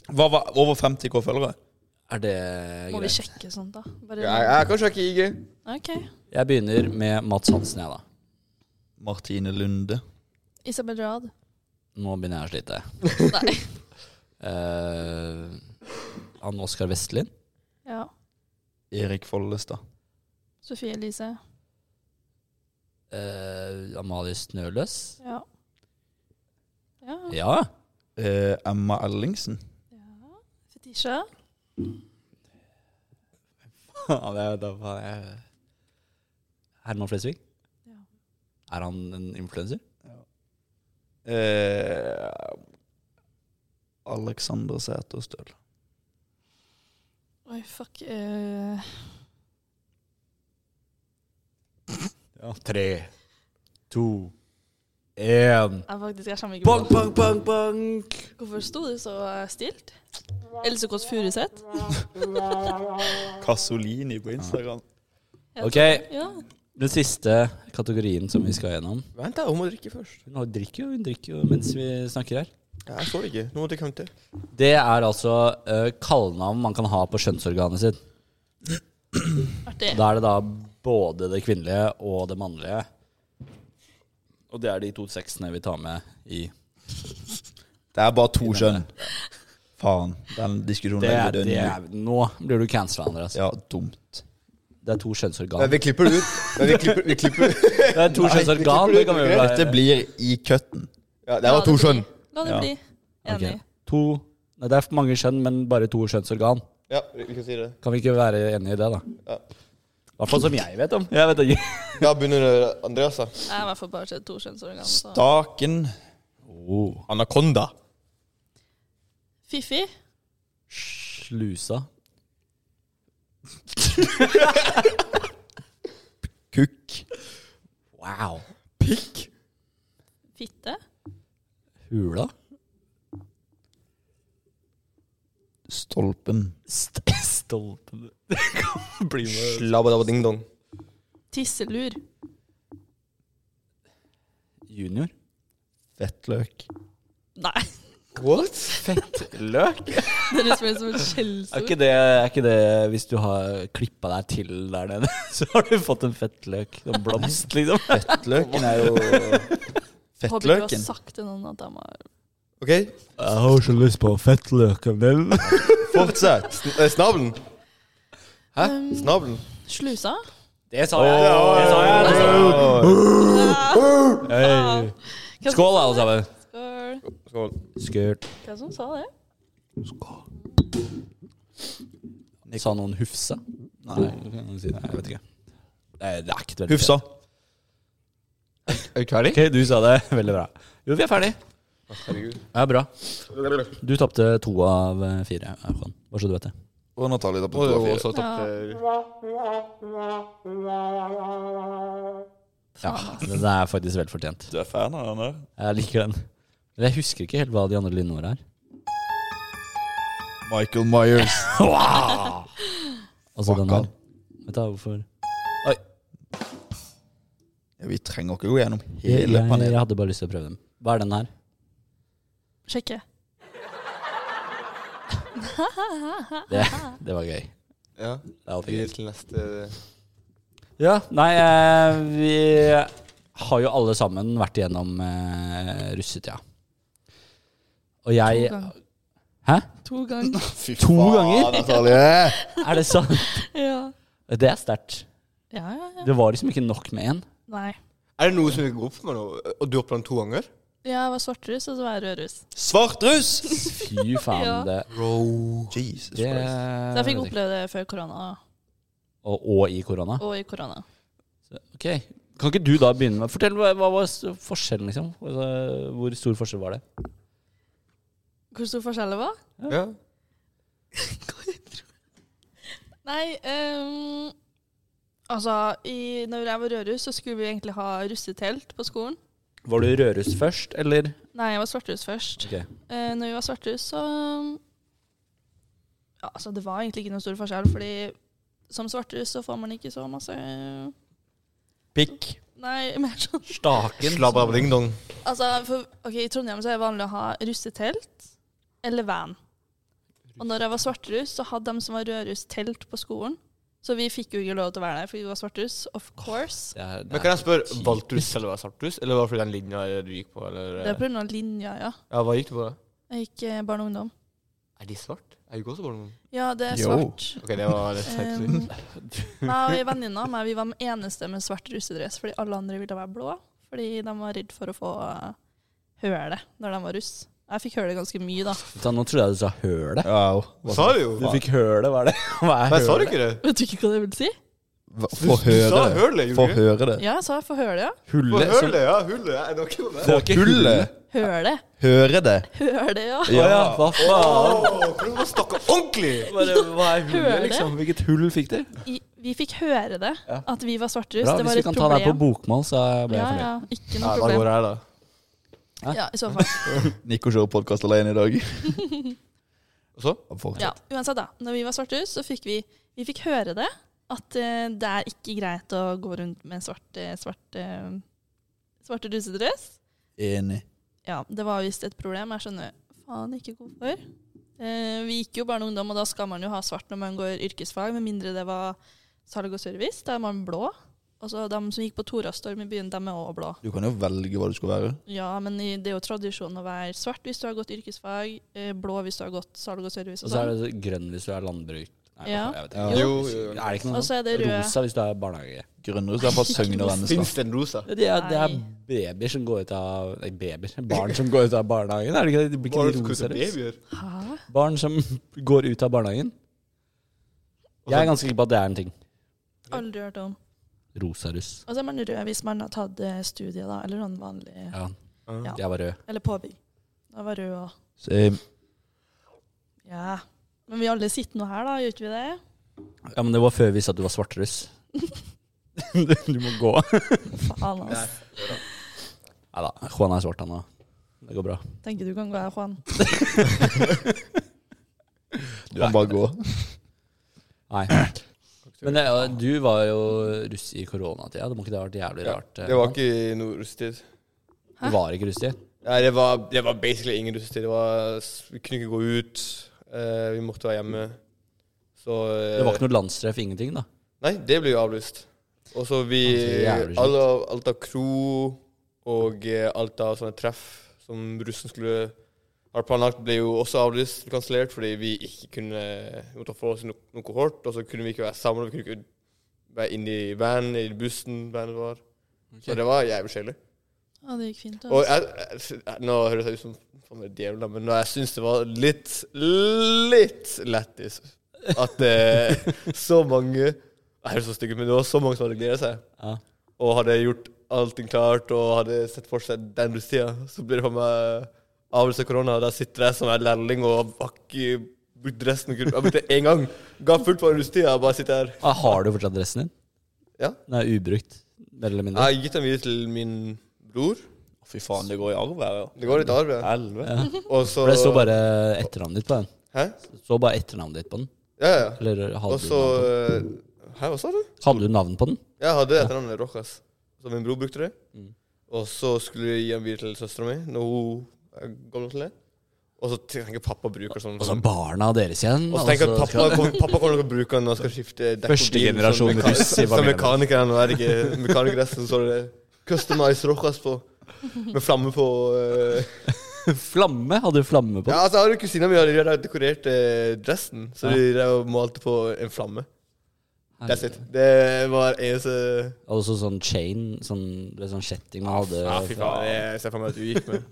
Speaker 3: Hva var over 50K følgere?
Speaker 1: Er det
Speaker 4: Må vi
Speaker 1: greit?
Speaker 4: sjekke sånt, da? Bare
Speaker 2: Jeg, jeg kan sjekke IG.
Speaker 4: OK.
Speaker 1: Jeg begynner med Mats Hansen, jeg, da.
Speaker 3: Martine Lunde.
Speaker 4: Isabel Rad.
Speaker 1: Nå begynner jeg å slite.
Speaker 4: Nei.
Speaker 1: Eh, han Oskar Vestlin.
Speaker 4: Ja.
Speaker 3: Erik Follestad.
Speaker 4: Sofie Elise.
Speaker 1: Eh, Amalie Snøløs.
Speaker 4: Ja. Ja.
Speaker 1: Ja.
Speaker 3: Eh, Emma Ellingsen.
Speaker 4: ja. Fetisha.
Speaker 1: Ja, det er jo da faen jeg Herman Flesvig?
Speaker 4: Ja.
Speaker 1: Er han en influenser?
Speaker 3: Eh, Alexander Sæterstøl.
Speaker 4: Oi, fuck. eh,
Speaker 1: Ja. Tre, to, én
Speaker 4: jeg faktisk jeg kommer ikke
Speaker 1: Bang,
Speaker 4: på
Speaker 1: bang, bang, bang!
Speaker 4: det. Hvorfor sto du så eh, stilt? Else Kåss Furuseth.
Speaker 3: Casolini på Instagram.
Speaker 4: Ja.
Speaker 1: Ok,
Speaker 4: Ja.
Speaker 1: den siste kategorien som vi skal gjennom.
Speaker 2: Vent, da. Hun må drikke først.
Speaker 1: Hun drikker jo, hun drikker jo mens vi snakker her.
Speaker 2: Jeg så ikke. Nå må drikke han til.
Speaker 1: Det er altså eh, kallenavn man kan ha på kjønnsorganet sitt.
Speaker 4: Artig.
Speaker 1: Da er det da både det kvinnelige og det mannlige. Og det er de to sexene vi tar med i
Speaker 3: Det er bare to kjønn. Faen, den diskusjonen
Speaker 1: Det,
Speaker 3: er
Speaker 1: er- det er, nå blir du cancela, Andreas.
Speaker 3: Ja, dumt.
Speaker 1: Det er to
Speaker 2: Men
Speaker 1: kjønnsorgan.
Speaker 2: vi klipper det ut. Men vi klipper, vi klipper.
Speaker 1: Det er to kjønnsorgan. Det kan vi jo
Speaker 3: Dette blir i cutten.
Speaker 2: Ja, det var to skjønn.
Speaker 4: La det
Speaker 3: Ja.
Speaker 4: bli. Enig.
Speaker 1: Ok. To Nei, det er mange kjønn, men bare to kjønnsorgan.
Speaker 2: Ja, vi vi kan si det.
Speaker 1: Kan vi ikke være enige i det, da?
Speaker 2: Ja.
Speaker 1: I hvert fall som jeg vet om. Jeg vet ikke.
Speaker 2: Ja, begynner eh, Andreas, da.
Speaker 4: Jeg har i hvert fall bare sett to kjønnsorgan. Så.
Speaker 3: Staken.
Speaker 1: Oh.
Speaker 2: Anakonda.
Speaker 4: Fifi.
Speaker 1: Slusa.
Speaker 3: Kukk.
Speaker 1: Wow.
Speaker 2: Pikk.
Speaker 4: Fitte.
Speaker 1: Hula.
Speaker 3: Stolpen.
Speaker 1: St Stolpen Bli med.
Speaker 2: Slabadabadingdong.
Speaker 4: Tisselur.
Speaker 1: Junior.
Speaker 3: Fettløk.
Speaker 4: Nei,
Speaker 2: What?
Speaker 1: Fettløk?
Speaker 4: det høres mer ut som et
Speaker 1: Er
Speaker 4: skjellsord.
Speaker 1: ikke, det, er ikke det Hvis du har klippa deg til der nede, så har du fått en fettløk. En blomst, liksom.
Speaker 3: Fettløken er jo
Speaker 4: Håper ikke du har
Speaker 3: Fettløken.
Speaker 4: sagt til noen at de har
Speaker 2: OK,
Speaker 1: Jeg har ikke lyst på fettløken din.
Speaker 2: fortsett. Sn eh, snabelen. Hæ?
Speaker 4: Um,
Speaker 2: Snabelen.
Speaker 4: Slusa.
Speaker 1: Det sa jeg. Det sa jeg. Hei.
Speaker 4: Hva-
Speaker 1: Skål, alle sammen.
Speaker 4: Skål.
Speaker 2: Skål.
Speaker 1: Skurt.
Speaker 4: Hva som sa det?
Speaker 1: Sa noen hufse? Nei, du kan si det. jeg vet ikke. Det er, det er ikke et veldig
Speaker 3: Hufsa.
Speaker 2: Er du ferdig?
Speaker 1: Ok, du sa det. Veldig bra. Jo, vi er ferdig.
Speaker 2: Herregud.
Speaker 1: Ja, bra. Du tapte to av eh, fire, Erkan. Bare så du vet det.
Speaker 3: Og Natalie da på
Speaker 2: Må
Speaker 3: to
Speaker 2: jo
Speaker 3: og fire.
Speaker 2: også tatt eh,
Speaker 1: Ja, Det er faktisk vel fortjent.
Speaker 3: Du er fan av den der?
Speaker 1: Jeg liker den. Men jeg husker ikke helt hva de andre lynordene er.
Speaker 3: Michael Myers.
Speaker 1: Altså den
Speaker 3: Fuck
Speaker 1: der. Vet du hvorfor?
Speaker 3: Ja, vi trenger ikke gå gjennom
Speaker 1: Jeg,
Speaker 3: hele
Speaker 1: jeg, jeg
Speaker 3: panelet.
Speaker 1: hadde bare lyst til å prøve dem. Hva er den her?
Speaker 4: Sjekke.
Speaker 1: Det, det var gøy.
Speaker 2: Ja.
Speaker 1: Det er alltid gøy.
Speaker 2: Videre til neste
Speaker 1: Ja, nei, eh, vi har jo alle sammen vært igjennom eh, russetida. Og jeg
Speaker 4: To ganger.
Speaker 1: Hæ?
Speaker 4: To ganger.
Speaker 3: Fy
Speaker 1: To ganger?
Speaker 3: Natalie!
Speaker 1: Er det sant?
Speaker 4: Ja.
Speaker 1: Det er sterkt.
Speaker 4: ja, ja, ja.
Speaker 1: Det var liksom ikke nok med én.
Speaker 4: Nei.
Speaker 2: Er det noe som ikke går opp for meg nå? Og du åpner den to ganger?
Speaker 4: Jeg var svartrus, og så var jeg rødrus.
Speaker 3: Svartrus!
Speaker 1: Fy faen,
Speaker 4: Ja.
Speaker 1: det,
Speaker 2: Bro.
Speaker 3: Jesus
Speaker 1: det
Speaker 3: Christ.
Speaker 4: Så jeg fikk oppleve det før korona,
Speaker 1: og, og i korona.
Speaker 4: og i korona.
Speaker 1: Ok, Kan ikke du da begynne med Fortell, hva, hva var s- forskjellen, liksom? Altså, Hvor stor forskjell var det?
Speaker 4: Hvor stor forskjell det var?
Speaker 2: Ja.
Speaker 4: Nei, ehm, altså i, Når jeg var rødruss, så skulle vi egentlig ha russetelt på skolen.
Speaker 1: Var du rødruss først, eller?
Speaker 4: Nei, jeg var svartruss først.
Speaker 1: Ok.
Speaker 4: Eh, når vi var svartruss, så ja, altså, Det var egentlig ikke noen stor forskjell, fordi som svartruss så får man ikke så masse Nei,
Speaker 1: Pikk.
Speaker 4: mer sånn
Speaker 1: Staken.
Speaker 2: Slabbabdingdong.
Speaker 4: Altså, for, ok, I Trondheim så er det vanlig å ha russetelt eller van. Og når jeg var svartruss, så hadde de som var rødruss, telt på skolen. Så vi fikk jo ikke lov til å være der, fordi vi var svartruss. Of course.
Speaker 1: Det er,
Speaker 2: Men
Speaker 1: det er.
Speaker 2: kan jeg spørre, valgte du selv å være svartrus, eller var det fordi den linja du gikk på? Eller?
Speaker 4: Det er eh, pga. linja, ja.
Speaker 2: Ja, hva gikk du på? da?
Speaker 4: Jeg gikk eh, barn og ungdom.
Speaker 2: Er de svart? Jeg gikk også på ungdom.
Speaker 4: Ja, det er
Speaker 3: Jo.
Speaker 4: svart.
Speaker 2: Ok, det var litt
Speaker 4: Um,
Speaker 2: teit.
Speaker 4: Nei, og en venninne av meg, vi var den eneste med svart russedress, fordi alle andre ville være blå. Fordi de var redd for å få eh, høle når de var russ. Jeg fikk høle ganske mye, da.
Speaker 1: Da, nå trodde jeg du sa hølet.
Speaker 3: Wow.
Speaker 2: Sa du jo?
Speaker 1: Du fikk hølet, hva er det? Hva er
Speaker 2: Nei, sa du
Speaker 1: hølet?
Speaker 2: ikke det?
Speaker 4: Vet du ikke hva det vil si?
Speaker 3: Hva- Få
Speaker 2: Du sa
Speaker 3: høre det.
Speaker 2: hølet,
Speaker 3: Få
Speaker 2: gjorde du? ikke?
Speaker 3: høre det.
Speaker 4: Ja, jeg sa få høle, ja.
Speaker 2: Få
Speaker 1: Hullet? som-
Speaker 2: Hølet, ja. Hullet. Jeg er ikke med.
Speaker 1: Det var ikke
Speaker 3: Hullet.
Speaker 4: Høle.
Speaker 3: Høre det.
Speaker 4: Høle, ja.
Speaker 1: Å ja, hva faen?
Speaker 2: Åh, Hvordan man snakker ordentlig?
Speaker 1: Bare, hva er hullet,
Speaker 4: Hølet.
Speaker 1: liksom? Hvilket hull fikk dere?
Speaker 4: I, vi fikk høre det,
Speaker 1: Ja.
Speaker 4: at vi var svartruss.
Speaker 1: Bra,
Speaker 4: det
Speaker 1: hvis
Speaker 4: var
Speaker 1: vi
Speaker 4: et
Speaker 1: kan ta
Speaker 4: problem.
Speaker 1: deg på bokmål, så blir jeg
Speaker 4: ja,
Speaker 1: fornøyd.
Speaker 4: ja, ikke
Speaker 2: Nei,
Speaker 4: noe
Speaker 2: da
Speaker 4: problem.
Speaker 2: går jeg, da.
Speaker 1: jeg.
Speaker 4: Ja, i så fall.
Speaker 3: Nico kjører podkast alene i dag.
Speaker 2: Og så?
Speaker 3: Fortsett.
Speaker 4: Ja, uansett, da. Når vi var svarthus, så fikk vi, vi fikk høre det. At eh, det er ikke greit å gå rundt med svart, eh, svart, eh, svarte rusedress.
Speaker 3: Enig.
Speaker 4: Ja, det var visst et problem. Jeg skjønner faen ikke hvorfor. Eh, vi gikk jo barne og ungdom, og da skal man jo ha svart når man går yrkesfag, med mindre det var salg og service. Da er man blå. Og så de som gikk på Torastorm i byen, de er òg blå.
Speaker 3: Du kan jo velge hva du skal være.
Speaker 4: Ja, men i- det er jo tradisjon å være svart hvis du har gått yrkesfag, eh, blå hvis du har gått salg og service
Speaker 1: Og
Speaker 4: og
Speaker 1: så er
Speaker 4: sånn.
Speaker 1: det grønn hvis du er landbruk. Nei,
Speaker 4: Ja.
Speaker 1: jeg vet
Speaker 3: Ja.
Speaker 1: ikke.
Speaker 2: Jo, jo, jo.
Speaker 1: Er det ikke
Speaker 4: Og
Speaker 1: noe sånn
Speaker 4: så er det rød.
Speaker 1: Rosa hvis du er barnehage.
Speaker 3: Grønnere skal jeg fra Søgne og Vennesla.
Speaker 2: Fins det en rosa?
Speaker 1: Ja, Det er, det er
Speaker 4: Nei.
Speaker 1: babyer som går ut av Nei, babyer. Barn som går ut av barnehagen. Er det ikke det? De blir ikke
Speaker 2: Bare
Speaker 1: de rosa,
Speaker 2: kutte
Speaker 1: eller?
Speaker 2: sånn babyer?
Speaker 4: Hæ?
Speaker 1: Barn som går ut av barnehagen. Jeg
Speaker 2: Altså-
Speaker 1: er ganske sikker på at det er en ting.
Speaker 4: Aldri hørt om.
Speaker 1: Rosaruss.
Speaker 4: Og så Altså, er man rød hvis man har tatt eh, studie, da, eller sånn vanlig
Speaker 1: Ja,
Speaker 2: Ja.
Speaker 1: jeg var rød.
Speaker 4: Eller påbygg. Da var rød og
Speaker 1: eh,
Speaker 3: Same.
Speaker 4: Ja. Men vi alle sitter nå her, da, gjør ikke vi det?
Speaker 1: Ja, men det var før vi sa at du var svartruss. du du må gå.
Speaker 4: Faen, ass.
Speaker 1: Nei da, Juan er svart, han òg. Det går bra.
Speaker 4: Tenker du kan gå her, Juan.
Speaker 3: Du kan bare gå.
Speaker 1: Nei. Men det, ja, du var jo russ i koronatida. Det må ikke det ha vært jævlig rart? eh,
Speaker 2: Det var ikke i noe russetid.
Speaker 1: Det var ikke russetid.
Speaker 2: Nei, det var, det var basically ingen russetid. Det var, vi kunne ikke gå ut. eh, vi måtte være hjemme. Så
Speaker 1: Det var ikke noe landstreff, ingenting, da.
Speaker 2: Nei, det ble jo avlyst. Og så vi
Speaker 1: Altså, jævlig kjipt.
Speaker 2: alle, Alt av kro og eh, alt av sånne treff som russen skulle ha planlagt, ble jo også avlyst og kansellert fordi vi ikke kunne vi måtte få oss no noe kohort. Og så kunne vi ikke være sammen, vi kunne ikke være inne i van, i bussen vanen var. Så det var jævlig kjedelig.
Speaker 4: Ja, det gikk fint.
Speaker 2: Og
Speaker 4: Altså.
Speaker 2: jeg, jeg, nå høres jeg ut som faen meg djevelen, da, men når jeg syns det var litt, litt lættis at eh, så mange Jeg høres så stygg ut, men det var så mange som hadde gleda seg,
Speaker 1: Ja.
Speaker 2: og hadde gjort allting klart og hadde sett for seg den russetida, så blir det for meg avlyst av korona, og der sitter jeg som en lærling og har ikke brukt dressen Jeg har brukt det én gang. Ga fullt på russetida og bare sitter her.
Speaker 1: Ah, har du fortsatt dressen din?
Speaker 2: Ja.
Speaker 1: Den er ubrukt, mer eller
Speaker 2: Jeg
Speaker 1: mindre.
Speaker 2: har gitt den videre til min bror.
Speaker 3: Fy faen, det går i arv her.
Speaker 2: Det går litt arv, ja.
Speaker 3: Helvete.
Speaker 2: Og så
Speaker 1: For det står bare etternavnet ditt på den.
Speaker 2: Hæ?
Speaker 1: Det står bare etternavnet ditt på den.
Speaker 2: Ja, ja.
Speaker 1: Eller hadde,
Speaker 2: Og så
Speaker 1: du, navn på den?
Speaker 2: eh, Hæ, hva sa du?
Speaker 1: hadde du navn på den?
Speaker 2: Jeg hadde etternavnet Rojas. Så min bror brukte det.
Speaker 1: Mm.
Speaker 2: Og så skulle jeg gi den videre til søstera mi når hun er gammel til det. Og så tenker jeg pappa bruker sånn.
Speaker 1: Og så barna deres igjen. Altså,
Speaker 2: Og så tenker jeg at
Speaker 1: og så
Speaker 2: pappa, kom, pappa kommer til å bruke den når han skal skifte dekk på
Speaker 1: Første
Speaker 2: bilen,
Speaker 1: generasjon
Speaker 2: som meka-
Speaker 1: russ i
Speaker 2: Som
Speaker 1: familien.
Speaker 2: mekanikeren og er det ikke mekanikerdressen, så er det Customize Rojas på. Med flamme på. eh.
Speaker 1: skal- Flamme? Hadde du flamme på den?
Speaker 2: Ja, altså, jeg har jo kusina mi, og de har dekorert eh, dressen. Så de drev og malte på en flamme. That's it. Det var eneste
Speaker 1: Og så sånn chain, sånn, det er sånn kjetting man hadde.
Speaker 2: Ja, fy faen, jeg ser for meg at du gikk med.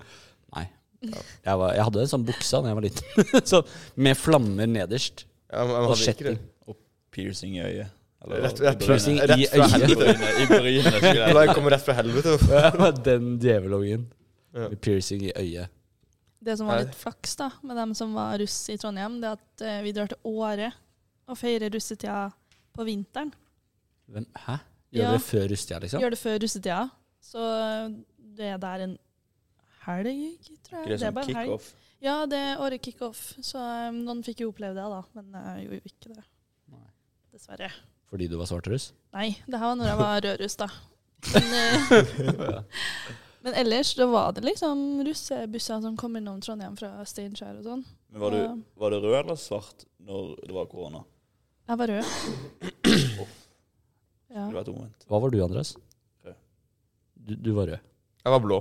Speaker 1: Nei. Jeg, var, jeg hadde en sånn buksa da jeg var liten, sånn, med flammer nederst.
Speaker 2: Ja, men jeg
Speaker 1: Og
Speaker 2: hadde ikke det.
Speaker 1: kjetting.
Speaker 3: Piercing i øyet.
Speaker 2: Rett, rett,
Speaker 3: i
Speaker 1: Piercing
Speaker 2: rett,
Speaker 1: i
Speaker 2: fra
Speaker 1: øyet.
Speaker 2: helvete.
Speaker 3: brynet. I brynet. skulle jeg-
Speaker 2: La jeg komme rett fra helvete.
Speaker 1: Det var den djevelungen.
Speaker 2: Ja.
Speaker 1: Med piercing i øyet.
Speaker 4: Det som var litt flaks da, med dem som var russ i Trondheim, det er at eh, vi drar til Åre. og feirer russetida på vinteren.
Speaker 1: Hvem? Hæ? Gjør
Speaker 4: Ja.
Speaker 1: dere det før russetida, liksom?
Speaker 4: Gjør det før russetida. Så det er der en helg, tror jeg.
Speaker 2: Det er som
Speaker 4: bare en helg.
Speaker 2: kickoff.
Speaker 4: Ja, det er året kickoff. Så eh, noen fikk jo oppleve det, da. Men jeg gjorde jo ikke det.
Speaker 1: Nei.
Speaker 4: Dessverre.
Speaker 1: Fordi du var svartruss?
Speaker 4: Nei, det her var når jeg var rødruss, da. Men, eh, men ellers da var det liksom russebusser som kom innom Trondheim fra Steinkjer og sånn.
Speaker 3: Men var du, var du rød eller svart når det var korona?
Speaker 4: Jeg var rød. Ja.
Speaker 3: Det var et omvendt.
Speaker 1: Hva var du, Andreas?
Speaker 3: Rød.
Speaker 1: Du, du var rød.
Speaker 2: Jeg var blå.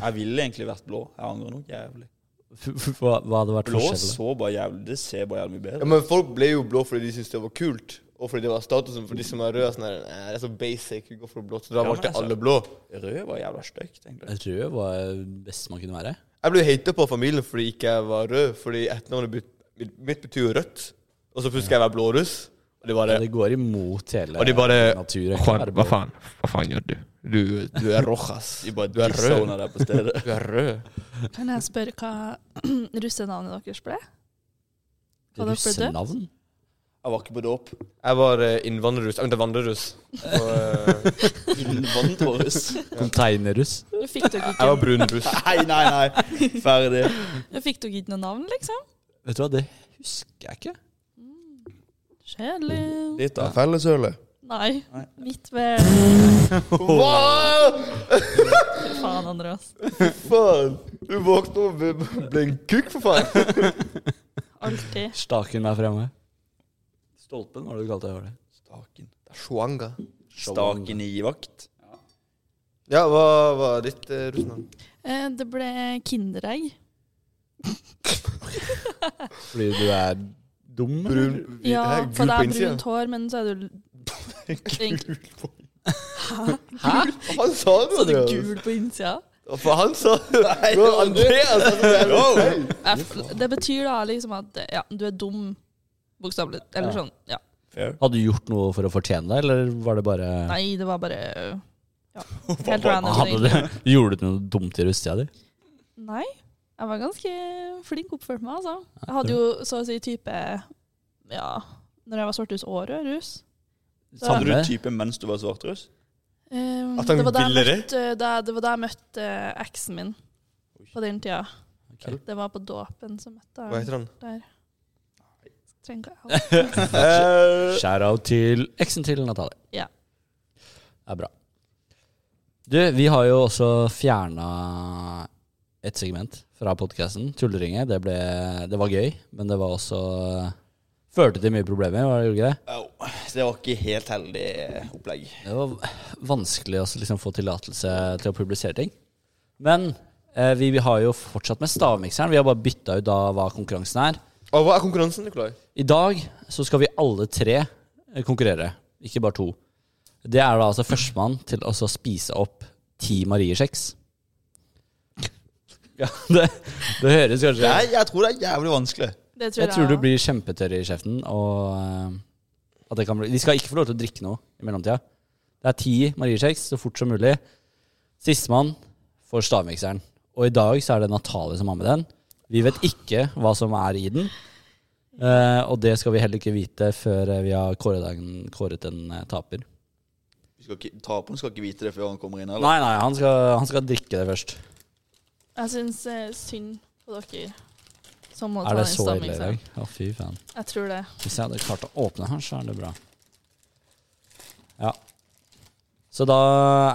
Speaker 3: Jeg ville egentlig vært blå. Jeg angrer noe jævlig.
Speaker 1: F f hva, hva hadde vært
Speaker 3: Blå
Speaker 1: forskjellen?
Speaker 3: så bare jævlig Det ser bare jævlig mye
Speaker 2: Ja,
Speaker 3: bedre
Speaker 2: men folk ble jo blå fordi de syntes det var kult. Og fordi det var statusen for de som er røde. er Sånn her, «Nei, det er så basic, vi går for blått. Så da
Speaker 3: Ja, men
Speaker 2: valgte
Speaker 3: altså-
Speaker 2: alle blå.
Speaker 3: Rød var jævla stygt, egentlig.
Speaker 1: Rød var det beste man kunne være.
Speaker 2: Jeg ble hata på av familien fordi ikke jeg var rød. Fordi etternavnet mitt, mitt- mitt betyr jo rødt. Og så plutselig skal jeg være blåruss. Og de bare
Speaker 1: Det går imot hele
Speaker 2: Og de bare-
Speaker 1: naturen.
Speaker 2: faen? Hva faen gjør du? Du, du er rojas.
Speaker 3: De bare
Speaker 2: Du er rød.
Speaker 3: dissona deg på stedet.
Speaker 2: Du er rød.
Speaker 4: Kan jeg spørre hva russenavnet deres ble? Hva dere ble døpt?
Speaker 1: Russenavn?
Speaker 3: Jeg var ikke på dåp.
Speaker 2: Jeg var eh, innvandrerruss. Jeg mente vandrerruss. Og, eh,
Speaker 3: Innvandrerruss.
Speaker 1: Konteinerruss?
Speaker 4: Fikk dere
Speaker 2: Jeg var
Speaker 4: ikke,
Speaker 2: brunruss.
Speaker 3: Nei, nei, nei. Ferdig.
Speaker 4: fikk dere ikke noe navn, liksom?
Speaker 1: Vet du hva, det husker jeg ikke.
Speaker 4: Kjedelig.
Speaker 3: Litt av.
Speaker 2: Felleshølet.
Speaker 4: Nei.
Speaker 3: Nei.
Speaker 4: Mitt ved
Speaker 2: Hva
Speaker 4: Fy faen, Andreas.
Speaker 2: faen? Du våkna og ble- ble en kukk, for faen.
Speaker 4: Alltid.
Speaker 1: Staken der fremme.
Speaker 3: Stolpen,
Speaker 1: Hva
Speaker 3: var
Speaker 1: har
Speaker 3: det
Speaker 1: du kalt det? Var det?
Speaker 3: Staken.
Speaker 2: Shuanga.
Speaker 3: Staken i vakt.
Speaker 2: Ja, hva var ditt eh, russnavn?
Speaker 4: Eh, det ble Kinderegg.
Speaker 1: Fordi du er dum? eller?
Speaker 2: Brun, hvit,
Speaker 4: Ja,
Speaker 2: hæ,
Speaker 4: for
Speaker 2: gul
Speaker 4: det
Speaker 2: på
Speaker 4: er
Speaker 2: innsiden.
Speaker 4: brunt hår, men så er du Gul.
Speaker 2: Hva faen sa du,
Speaker 4: Så er det
Speaker 2: Andreas?
Speaker 4: gul på innsida.
Speaker 2: Hva faen sa du? Bro, Andreas, altså, jeg-
Speaker 4: Jeg f- Det betyr da liksom at ja, du er dum, bokstavelig. Eller
Speaker 1: Ja.
Speaker 4: sånn. Ja.
Speaker 3: Fair.
Speaker 1: Hadde du gjort noe for å fortjene det, eller var det bare
Speaker 4: Nei, det var bare øh, ja,
Speaker 3: Hva
Speaker 4: helt
Speaker 3: var-
Speaker 4: random.
Speaker 1: Hadde
Speaker 4: egentlig.
Speaker 1: du, Gjorde du noe dumt i russetida di?
Speaker 4: Nei. Jeg var ganske flink oppført meg, altså. Jeg hadde jo så å si type Ja, når jeg var svarthus og rødhus. Så-
Speaker 3: Hadde du
Speaker 1: Samme?
Speaker 3: type mens du var svartruss?
Speaker 4: Um,
Speaker 2: At han
Speaker 4: det var da jeg
Speaker 2: ville det?
Speaker 4: møtte, da, det var da jeg møtte eh, eksen min på den tida.
Speaker 1: Ok.
Speaker 4: Det var på dåpen som møtte
Speaker 2: Hva
Speaker 4: jeg
Speaker 2: heter han?
Speaker 4: der. Trenger ikke å-
Speaker 2: Eh,
Speaker 1: Shout-out til eksen til Natalie.
Speaker 4: Ja.
Speaker 1: Det er bra. Du, vi har jo også fjerna et segment fra podkasten, Tulleringet. Det, ble, det var gøy, men det var også eh, Førte til mye problemer, var det ikke det?
Speaker 3: Au. Det var ikke helt heldig eh, opplegg.
Speaker 1: Det var vanskelig å liksom få tillatelse til å publisere ting. Men eh, vi, vi har jo fortsatt med stavmikseren. Vi har bare bytta ut da hva konkurransen er.
Speaker 2: og hva er konkurransen, Nikolai?
Speaker 1: I dag så skal vi alle tre eh, konkurrere, ikke bare to. Det er da altså førstemann til å så spise opp ti Mariekjeks. Ja, det, det høres kanskje
Speaker 3: Nei, jeg tror det er jævlig vanskelig.
Speaker 4: Det tror
Speaker 1: Jeg tror du blir kjempetørr i kjeften, og eh, at det kan bli Vi skal ikke få lov til å drikke noe i mellomtida. Det er ti Mariekjeks så fort som mulig. Sistemann får stavmikseren. Og i dag så er det Natalie som har med den. Vi vet ikke hva som er i den. Eh, og det skal vi heller ikke vite før eh, vi har kåret en, kåret en eh, taper.
Speaker 3: Vi skal ikke, taperen skal ikke vite det før han kommer inn. Eller?
Speaker 1: Nei, nei, han skal, han skal drikke det først.
Speaker 4: Jeg syns eh, synd på dere som må ta
Speaker 1: Er det
Speaker 4: den
Speaker 1: så ille i
Speaker 4: stammingen.
Speaker 1: dag? Ja, fy faen.
Speaker 4: Jeg tror det.
Speaker 1: Hvis jeg hadde klart å åpne her, så er det bra. Ja. Så da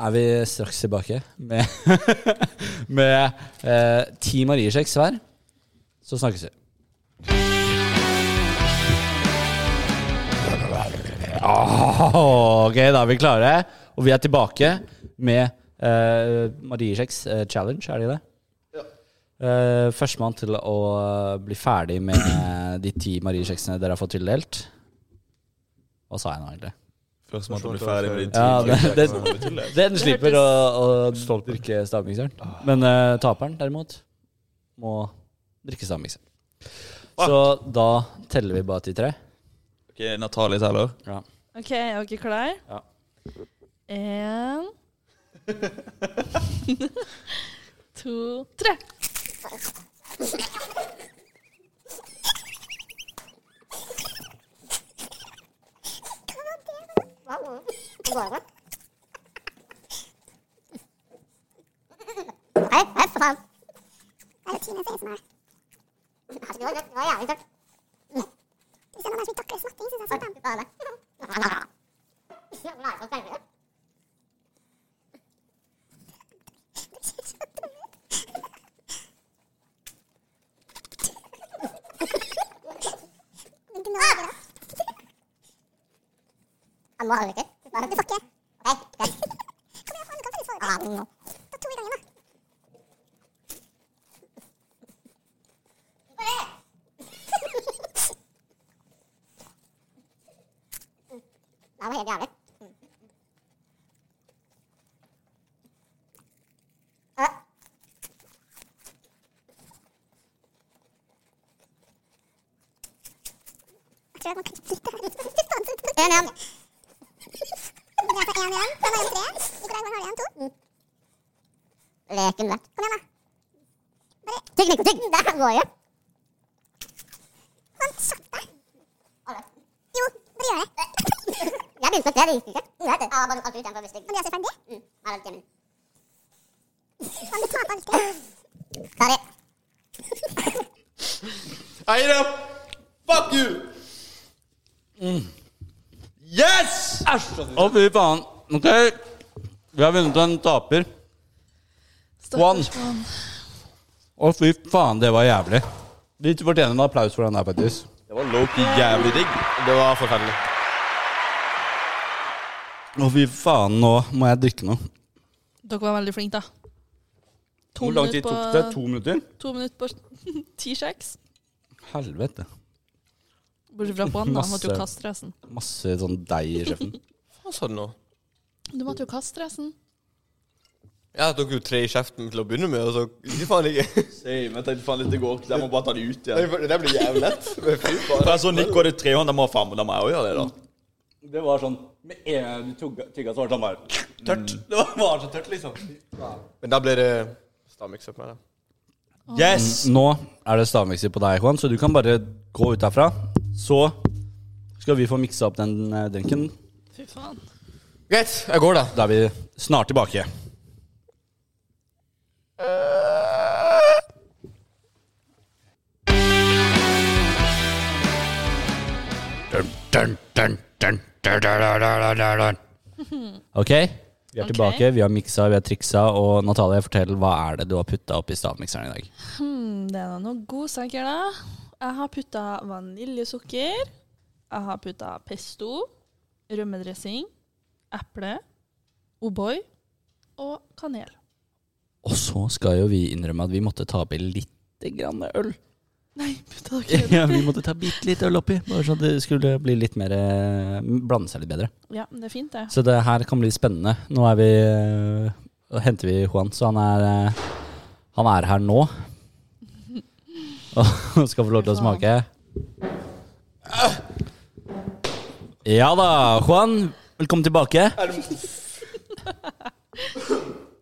Speaker 1: er vi straks tilbake med, med eh, ti Mariekjeks hver. Så snakkes vi. Åh, ok, da er vi klare. Og vi er tilbake med eh, Mariekjeks eh, challenge, er det det? Eh, Førstemann til å eh, bli ferdig med de ti mariekjeksene dere har fått tildelt. Hva sa jeg nå, egentlig?
Speaker 3: Først må du bli ferdig med din
Speaker 1: Ja, det, den,
Speaker 3: tid.
Speaker 1: den slipper å, å drikke stavmikseren. Men eh, taperen, derimot, må drikke stavmikseren. Så da teller vi bare til tre.
Speaker 3: Ok, Natalie teller.
Speaker 4: OK, er dere klare?
Speaker 1: Ja.
Speaker 4: En To, tre.
Speaker 5: Nei, nei, for faen. Det er jo timen 16 her. Altså, det var, det var jævlig tørt. Hvis det er noen som ikke takler smatting, synes jeg er sånn. Bare det. Ja, men er det så sperrig? Hvilken dag er det? Han må ha det, ikke? Bare du får ikke. Ok, greit. Kom igjen, faen, du kan faktisk få det. Ta to i gangen, da. Det var helt jævlig. Øh. Jeg tror jeg må klippe litt her. En igjen. Det er for en igjen. Den er igjen tre. Nikolai, hvor har du igjen? To? Leken vekk. Kom igjen, da. Bare tygg, Nico, tygg. Der går jo. Han satt deg. Jo, bare gjør det. Jeg begynte å se, det gikk ikke. Jeg vet det. Ja, bare alt ut hvis det... Men det er så ferdig? Mm, her er det min. Han betalte alt det. Kari.
Speaker 2: Eira! Fuck you!
Speaker 3: Mm.
Speaker 2: Yes!
Speaker 1: Å, fy faen. Ok. Vi har vunnet en taper. One.
Speaker 4: Stakkars mann.
Speaker 1: Å, fy faen, det var jævlig. Vi fortjener en applaus for den her, faktisk.
Speaker 3: Det var lowkey jævlig digg.
Speaker 2: Det var forferdelig.
Speaker 1: Å, fy faen, nå må jeg drikke noe.
Speaker 4: Dere var veldig flinke, da. To
Speaker 1: Hvor lang tid
Speaker 4: minutter
Speaker 1: tok
Speaker 4: på-
Speaker 1: det? To minutter?
Speaker 4: To minutter på ti kjeks.
Speaker 1: Helvete.
Speaker 4: Bortsett fra på han, da. Han måtte jo
Speaker 1: Masse.
Speaker 4: kaste resten.
Speaker 1: Masse sånn deig i kjeften.
Speaker 2: Hva sa du nå?
Speaker 4: Du måtte jo kaste resten.
Speaker 2: Jeg tok jo tre i kjeften til å begynne med, og så Ikke faen ikke.
Speaker 3: Same, jeg tenkte faen litt det går ikke. Jeg må bare ta det ut igjen.
Speaker 2: Det blir jævlig lett. Men fy faen.
Speaker 3: Jeg så Nico hadde tre hånd, da må jeg faen meg da må jeg også gjøre det, da.
Speaker 1: Det var sånn Med en gang du tugga, tygga, så var det sånn bare Tørt. Det var, så tørt, liksom.
Speaker 2: Men da blir det Stamix opp med det.
Speaker 3: Yes!
Speaker 1: Nå er det stavmikser på deg, Juan, så du kan bare gå ut derfra. Så skal vi få miksa opp den eh, drinken.
Speaker 4: Fy faen.
Speaker 2: Greit, jeg går, da.
Speaker 1: Da er vi snart tilbake. Ok, vi er
Speaker 4: Ok.
Speaker 1: tilbake. Vi har miksa, vi har triksa. Og Natalie, fortell hva er det du har putta oppi stavmikseren i dag?
Speaker 4: Hmm, det er da noen godsaker, da. Jeg har putta vaniljesukker. Jeg har putta pesto, rømmedressing, eple, O'boy og kanel.
Speaker 1: Og så skal jo vi innrømme at vi måtte ta oppi lite grann øl.
Speaker 4: Nei, putta dere det?
Speaker 1: Ja, vi måtte ta bitte litt øl oppi, bare så det skulle bli litt mer eh, Blande seg litt bedre.
Speaker 4: Ja, men det er fint, det.
Speaker 1: Så det her kan bli spennende. Nå er vi eh, og henter vi Juan, så han er eh, Han er her nå. Og skal få lov til å smake. Ja da, Juan. Velkommen tilbake.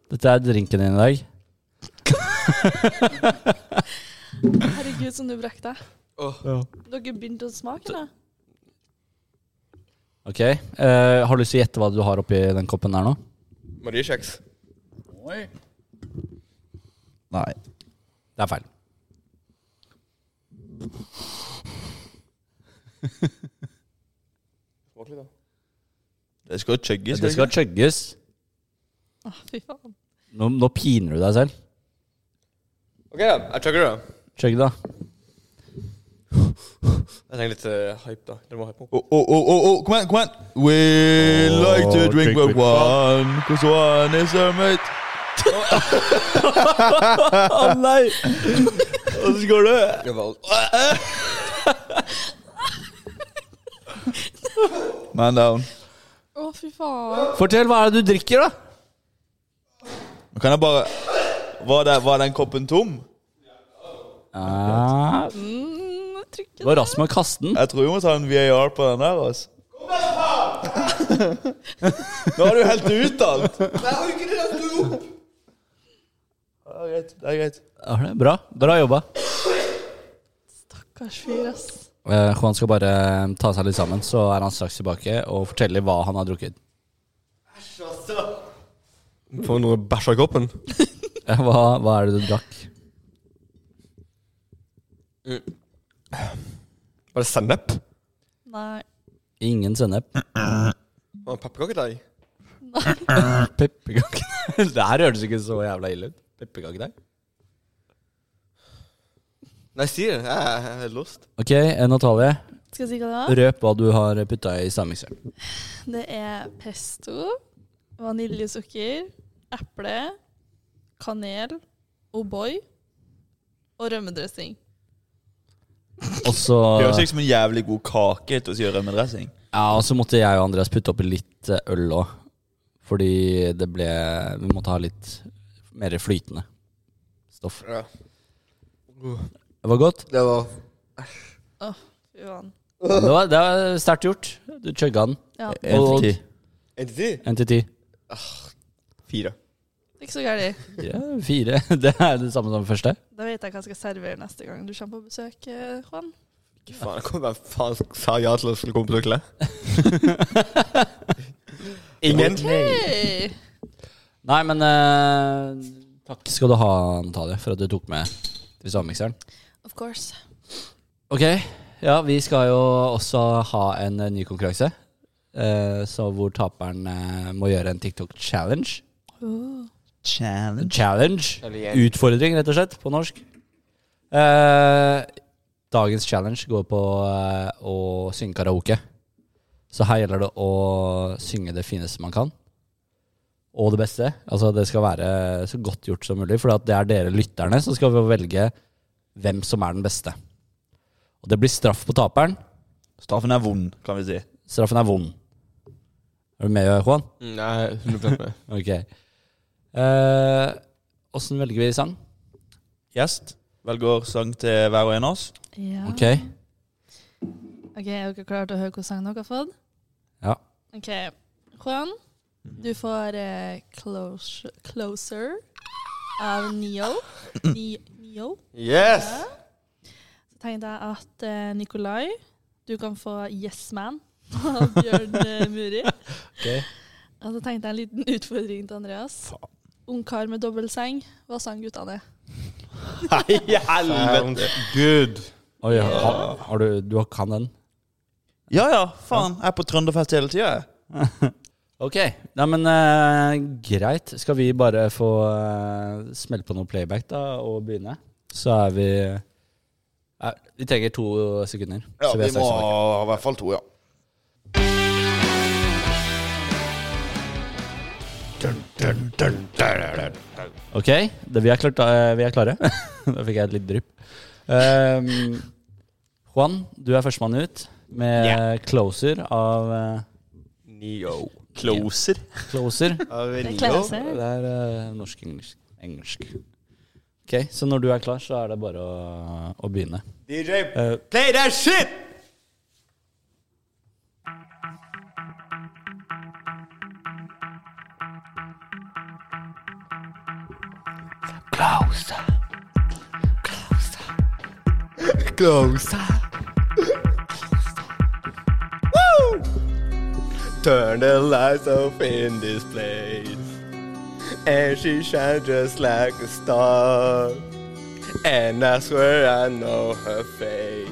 Speaker 1: Dette er drinken din i dag.
Speaker 4: Herregud, som du brekte deg. Dere begynte å smake, da?
Speaker 1: Ok, eh, Har du lyst til å gjette hva du har oppi den koppen der nå?
Speaker 2: Mariekjeks.
Speaker 1: Nei. Det er feil.
Speaker 2: Smak litt, da.
Speaker 3: Det skal chugges.
Speaker 1: Det skal chugges.
Speaker 4: Å, fy faen.
Speaker 1: Nå, nå piner du deg selv.
Speaker 2: OK, da. Jeg chugger, da.
Speaker 1: Chugg, da.
Speaker 2: Jeg trenger litt eh, hype, da. Dere må hype meg opp.
Speaker 3: Oh, oh, oh, oh, oh, kom igjen, kom igjen. We like to
Speaker 1: drink
Speaker 3: drink
Speaker 1: with
Speaker 3: with one, cause one is our mate.
Speaker 1: Å nei!
Speaker 3: Hvordan går det? Man down.
Speaker 4: Å, fy faen.
Speaker 1: Fortell, hva er det du drikker, da?
Speaker 3: Kan jeg bare Var, det, var den koppen tom?
Speaker 4: Mm,
Speaker 1: det
Speaker 4: trykket.
Speaker 1: var Rasmus Kasten.
Speaker 3: Jeg tror vi må ta en VAR på den her, altså. Nå har du helt ut alt. Det er greit. Det er greit.
Speaker 1: Ja, det er Bra. Bra jobba.
Speaker 4: Stakkars fyr, ass.
Speaker 1: Eh, Juan skal bare eh, ta seg litt sammen, så er han straks tilbake og forteller hva han har drukket.
Speaker 2: altså. Får noe bæsj i koppen.
Speaker 1: Eh, Hva, hva er det du drakk?
Speaker 2: Var det sennep?
Speaker 4: Nei.
Speaker 1: Ingen sennep.
Speaker 2: Var det pepperkakedeig?
Speaker 1: Pepperkake. det her hørtes ikke så jævla ille ut. Pepperkakedeig.
Speaker 2: Nei, si det. Jeg jeg er lost.
Speaker 1: Ok, eh, Natalie.
Speaker 4: Skal jeg si hva det var?
Speaker 1: Røp hva du har putta i stavmikseren.
Speaker 4: Det er pesto, vaniljesukker, eple, kanel, O'boy og rømmedressing.
Speaker 1: Og så
Speaker 3: Det høres ut som en jævlig god kake til å si rømmedressing.
Speaker 1: Ja, og så måtte jeg og Andreas putte oppi litt eh, øl òg. Fordi det ble Vi måtte ha litt mer flytende stoff.
Speaker 2: Ja.
Speaker 1: Det var godt.
Speaker 2: Det var
Speaker 4: Fy faen.
Speaker 1: Det var, det var sterkt gjort. Du chugga den.
Speaker 4: Ja, det
Speaker 1: En til ti.
Speaker 2: En til ti?
Speaker 1: En til ti.
Speaker 2: Fire.
Speaker 4: er ikke så gærent.
Speaker 1: Ja, fire. Det er det samme som første.
Speaker 4: Da vet jeg hva jeg skal servere neste gang du kommer på besøk, eh, Juan.
Speaker 2: Ikke faen, jeg kom, Hvem faen sa ja til å skulle komme på besøk til deg? Ingen.
Speaker 4: Hey!
Speaker 1: Nei, men eh, takk skal du ha, Natalie, for at du tok med til stavmikseren.
Speaker 4: Of course.
Speaker 1: Ok, ja, vi skal jo også ha en eh, ny konkurranse. eh, så hvor taperen eh, må gjøre en TikTok-challenge.
Speaker 4: Oh.
Speaker 3: Challenge.
Speaker 1: Challenge. Utfordring, rett og slett, på norsk. Eh, dagens challenge går på eh, å synge karaoke. Så her gjelder det å synge det fineste man kan. Og det beste. Altså Det skal være så godt gjort som mulig, for at det er dere lytterne som skal velge hvem som er den beste. Og det blir straff på taperen.
Speaker 3: Straffen er vond, kan vi si.
Speaker 1: Straffen er vond. Er du med, Juan?
Speaker 2: Nei, 100 med.
Speaker 1: Ok. Åssen velger vi sang?
Speaker 3: Gjest velger sang til hver og en av oss.
Speaker 4: Ja.
Speaker 1: Ok.
Speaker 4: Ok, Er dere klare til å høre hvilken sang dere har fått?
Speaker 1: Ja.
Speaker 4: Ok, Juan, du får eh, close, 'Closer' av Neo. Ni, Neo.
Speaker 2: Yes!
Speaker 4: Så tenkte jeg at eh, Nikolai, du kan få 'Yes Man' av Bjørn eh, Muri.
Speaker 1: Ok.
Speaker 4: Og så tenkte jeg en liten utfordring til Andreas. Ungkar med dobbeltseng, hva sang guttene?
Speaker 3: Nei, helvete!
Speaker 2: Good.
Speaker 1: Oi, har, har du, du kan den?
Speaker 3: Ja ja, faen. Jeg er på trønderfest hele tida, jeg.
Speaker 1: Ok. Nei, men eh, greit. Skal vi bare få eh, smelle på noe playback da, og begynne? Så er vi Nei, Vi trenger to sekunder. så er straks tilbake.
Speaker 3: i hvert fall to, ja.
Speaker 1: Ok, det, vi, er klart, eh, vi er klare. da fikk jeg et litt drypp. Ehm, Juan, du er førstemann ut med Closer av eh,
Speaker 2: Neo.
Speaker 3: Closer.
Speaker 1: Closer.
Speaker 2: Av
Speaker 4: Det er
Speaker 2: Neo.
Speaker 4: closer.
Speaker 1: Det er eh, norsk, engelsk. engelsk. Ok, Så når du er klar, så er det bare å, å begynne.
Speaker 2: DJ,
Speaker 1: Eh,
Speaker 2: play that shit! Closer. Woo! Turn the lights off in this place. And she shines just like a star. And I swear I know her face.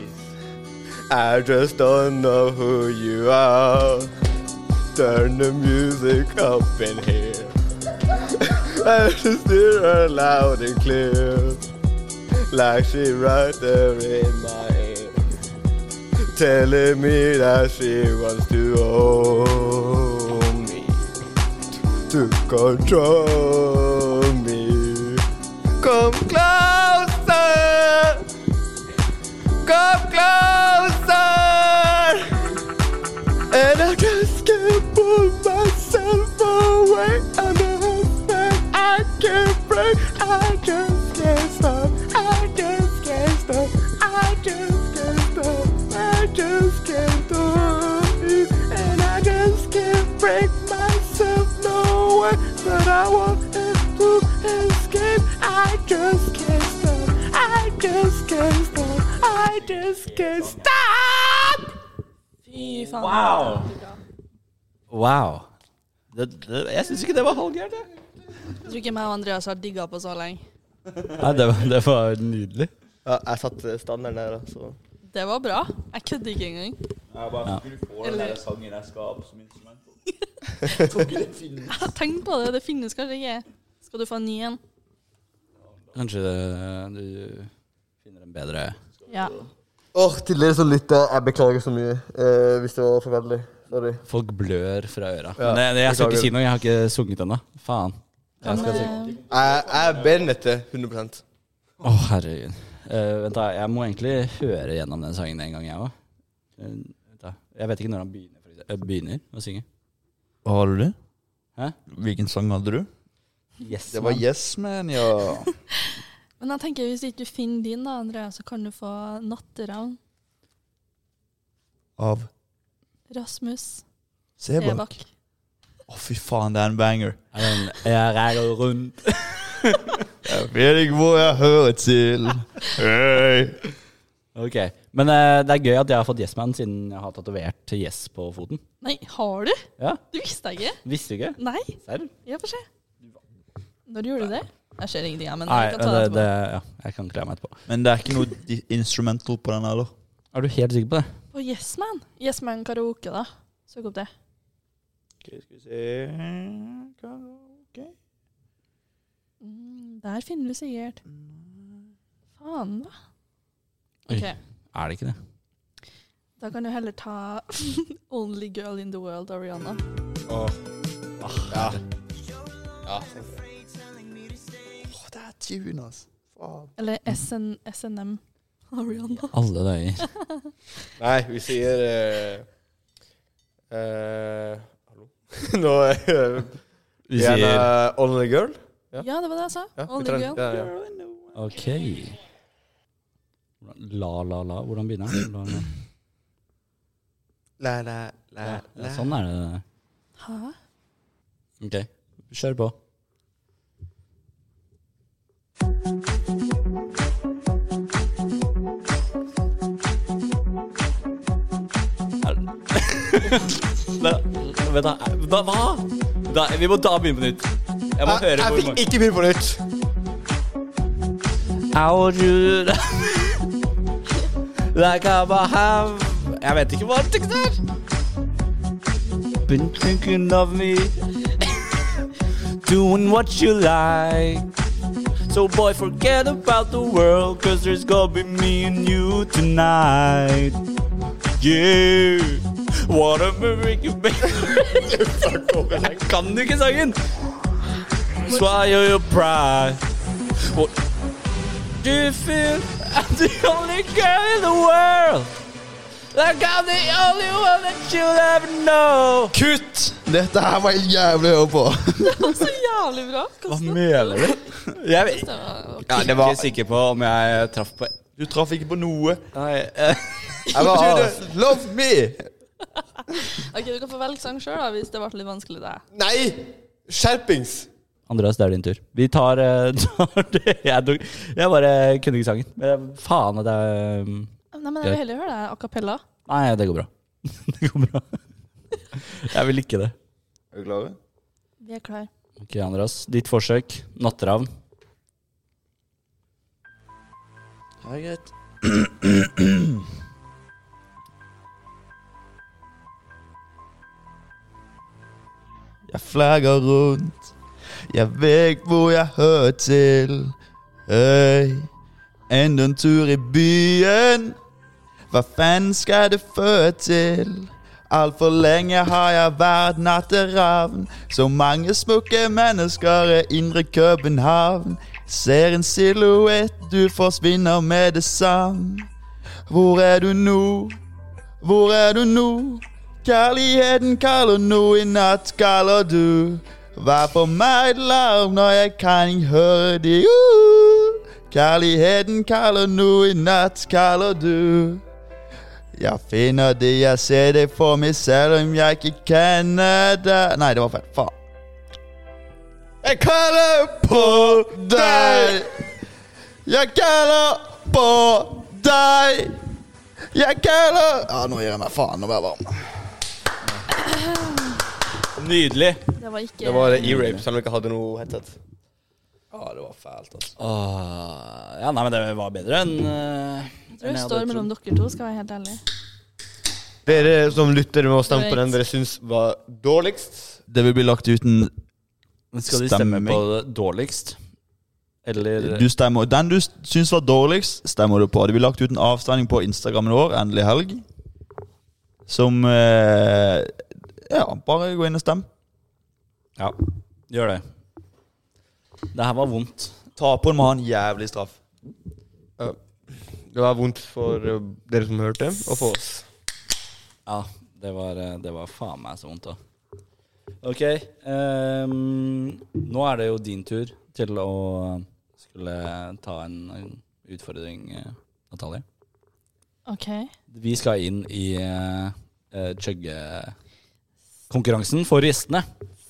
Speaker 2: I just don't know who you are. Turn the music up in here. I just hear her loud and clear. Like she right there in my ear. Telling me that she wants to own me. To control me. Come closer. Come closer. And I just can't pull myself away. I'm afraid I can't break. I just can't stop. I just can't stop. I just can't stop. I just can't stop. And I just can't break myself. No way that I want it to escape. I just can't stop. I just can't stop. I just can't stop.
Speaker 4: Fy faen. Wow!
Speaker 1: Wow.
Speaker 3: Det, det, jeg syns ikke det var halvgærent, jeg.
Speaker 4: Jeg tror ikke meg og Andreas har digga på så lenge.
Speaker 1: Nei, det var, det var nydelig.
Speaker 2: Ja, jeg satte standarden der, altså.
Speaker 4: Det var bra. Jeg kødder ikke engang.
Speaker 3: Jeg bare,
Speaker 1: Ja.
Speaker 3: Skulle du få
Speaker 4: Eller-
Speaker 3: sangen jeg skal ha på som instrument? Jeg tror ikke det finnes.
Speaker 4: Jeg har tenkt på det. Det finnes kanskje ikke. Skal du få en ny en?
Speaker 1: Kanskje det- du finner en bedre
Speaker 4: Ja.
Speaker 2: Åh, Til dere som lytter, jeg beklager så mye eh, hvis det var forferdelig. Sorry.
Speaker 1: Folk blør fra øra.
Speaker 2: Ja,
Speaker 1: Men det, det, jeg skal
Speaker 2: beklager.
Speaker 1: ikke si noe, jeg har ikke sunget ennå. Faen. Jeg
Speaker 4: Kan,
Speaker 1: skal synge.
Speaker 4: eh,
Speaker 2: Jeg, jeg ber dette 100
Speaker 1: Å, herregud. Eh, vent, da. Jeg må egentlig høre gjennom den sangen en gang, jeg òg. jeg vet ikke når han begynner, for eksempel. Eh, begynner å synge.
Speaker 3: Har du det?
Speaker 1: Hæ?
Speaker 3: Hvilken sang hadde du?
Speaker 1: Yes,
Speaker 3: Det var
Speaker 1: man.
Speaker 3: Yes Man, ja.
Speaker 4: Men jeg tenker hvis ikke du finner din, da, Andreas, så kan du få Natteravn.
Speaker 3: Av
Speaker 4: Rasmus
Speaker 3: Sebak.
Speaker 4: Sebakk.
Speaker 3: Å, fy faen, det er en banger.
Speaker 1: Er den- Jeg reiser rundt
Speaker 3: Jeg vet ikke hvor jeg hører til. Hey.
Speaker 1: Ok. Men eh, det er gøy at jeg har fått Yes Man siden jeg har tatovert Yes på foten.
Speaker 4: Nei, har du?
Speaker 1: Ja,
Speaker 4: Du visste jeg ikke?
Speaker 1: Visste du ikke?
Speaker 4: Nei,
Speaker 1: Serr?
Speaker 4: jeg får se. Når gjorde du det? Jeg ser ingenting, jeg, men
Speaker 1: Nei,
Speaker 4: jeg kan ta det
Speaker 1: det, det,
Speaker 4: etterpå.
Speaker 1: ja, jeg kan klare meg etterpå.
Speaker 3: Men det er ikke noe di- instrumental på den heller.
Speaker 1: Er du helt sikker på det?
Speaker 4: På Yes Man. Yes Man karaoke, da. Søk opp det.
Speaker 3: Okay, skal vi se
Speaker 4: Mm, der finner du sikkert Faen, da.
Speaker 1: Oi.
Speaker 4: Ok,
Speaker 1: Er det ikke det?
Speaker 4: da kan du heller ta Only Girl in the World, Ariana.
Speaker 2: Ja. ja.
Speaker 3: Å, det er tune, altså. Faen.
Speaker 4: Eller SN, SNM. Ariana.
Speaker 1: Alle døyer.
Speaker 2: Nei, vi sier eh, eh, Hallo? Nå eh,
Speaker 1: Vi
Speaker 2: Gjerne
Speaker 1: sier
Speaker 2: Only Girl.
Speaker 4: Ja.
Speaker 2: Ja.
Speaker 4: det var det jeg sa.
Speaker 2: Ja, vi
Speaker 4: Only
Speaker 2: tar den.
Speaker 4: Girl.
Speaker 2: Ja, ja.
Speaker 1: OK. La, la, la. Hvordan begynner den? La, la.
Speaker 2: La, la, la,
Speaker 1: Ja,
Speaker 2: la.
Speaker 1: sånn er det.
Speaker 4: Hæ?
Speaker 1: Ok, kjør på. Vent, da. da hva? Da, vi må ta begynne på nytt. Jeg må
Speaker 2: Ah, Jeg,
Speaker 1: høre
Speaker 2: jeg
Speaker 1: hvor
Speaker 2: fikk ikke begynne på nytt.
Speaker 1: mange Like I'm a have Jeg vet ikke hva det er. Been thinking of me Doing what you like So Oh boy, forget about the world Cause there's gonna be me and you tonight Yeah Whatever we can make Jeg kan jo ikke sangen Swallow your pride What do you feel I'm the only girl in the world Like I'm the only one that you'll ever know
Speaker 3: Kutt! Dette her var jævlig å høre på.
Speaker 4: Så jævlig bra. Hva
Speaker 1: mener du? Jeg vet
Speaker 4: det var-
Speaker 1: ja, det var... ikke sikker på om jeg traff på
Speaker 3: Du traff ikke på noe.
Speaker 1: Nei, eh,
Speaker 3: Jeg var ah, Love me!
Speaker 4: Ok, Du kan få velge sang sjøl hvis det ble litt vanskelig. Det.
Speaker 2: Nei! Skjerpings!
Speaker 1: Andreas, det er din tur. Vi tar, eh, tar det. Jeg, tok, jeg bare kunne ikke sangen. Men eh, faen, det er um,
Speaker 4: Nei, men Jeg vil heller høre det a cappella.
Speaker 1: Nei, det går bra. Det går bra. Jeg vil ikke det.
Speaker 3: Er du klare?
Speaker 4: Vi er klar.
Speaker 1: Ok, Andreas. Ditt forsøk. Natteravn.
Speaker 3: Ja, greit. Jeg flagger rundt, jeg vet hvor jeg hører til. Hey. Enda en tur i byen, hva faen skal det føre til? Altfor lenge har jeg vært natteravn. Så mange smukke mennesker i indre København. Ser en silhuett, du forsvinner med det samme. Hvor er du nå? Hvor er du nå? Kjærligheten kaller nå, i natt kaller du. Vær for meg et larm når jeg kan ikke høre de. Uh! Kjærligheten kaller nå, i natt kaller du. Jeg finner det jeg ser det for meg, selv om jeg ikke kjenner deg Nei, det var feil. Faen. Jeg kaller på deg. Jeg kaller på deg. Jeg kaller Ja, nå gir jeg meg. Faen, nå ble jeg varm.
Speaker 1: Nydelig.
Speaker 4: Det var ikke
Speaker 2: Det var det e-rape, selv om jeg ikke hadde noe headset.
Speaker 6: Ja,
Speaker 2: Ah,
Speaker 6: det var fælt, altså.
Speaker 1: Åh, ja, nei, men det var bedre enn eh, enn
Speaker 4: Jeg tror det
Speaker 1: hadde
Speaker 4: står
Speaker 1: trodd.
Speaker 4: mellom dere to, skal jeg være helt ærlig.
Speaker 2: Dere som lytter, må stemme
Speaker 4: Right.
Speaker 2: på den dere syns var dårligst.
Speaker 3: Det vil bli lagt uten
Speaker 1: Men skal de
Speaker 3: Stemmer
Speaker 1: stemme på det dårligst? Eller
Speaker 3: du stemmer, Den du syns var dårligst, stemmer du på. Det blir lagt ut en avstemning på Instagrammen vår, endelig helg, som eh, Ja, bare gå inn og stem.
Speaker 1: Ja, gjør det. Det her var vondt.
Speaker 3: Taperen må ha en jævlig straff.
Speaker 2: Det var vondt for eh, dere som hørte, og for oss.
Speaker 1: Ja, det var, eh, det var faen meg så vondt, da. Ok, ehm, nå er det jo din tur til å skulle ta en, en utfordring, eh, Natalie.
Speaker 4: OK.
Speaker 1: Vi skal inn i uh, chuggekonkurransen for gjestene.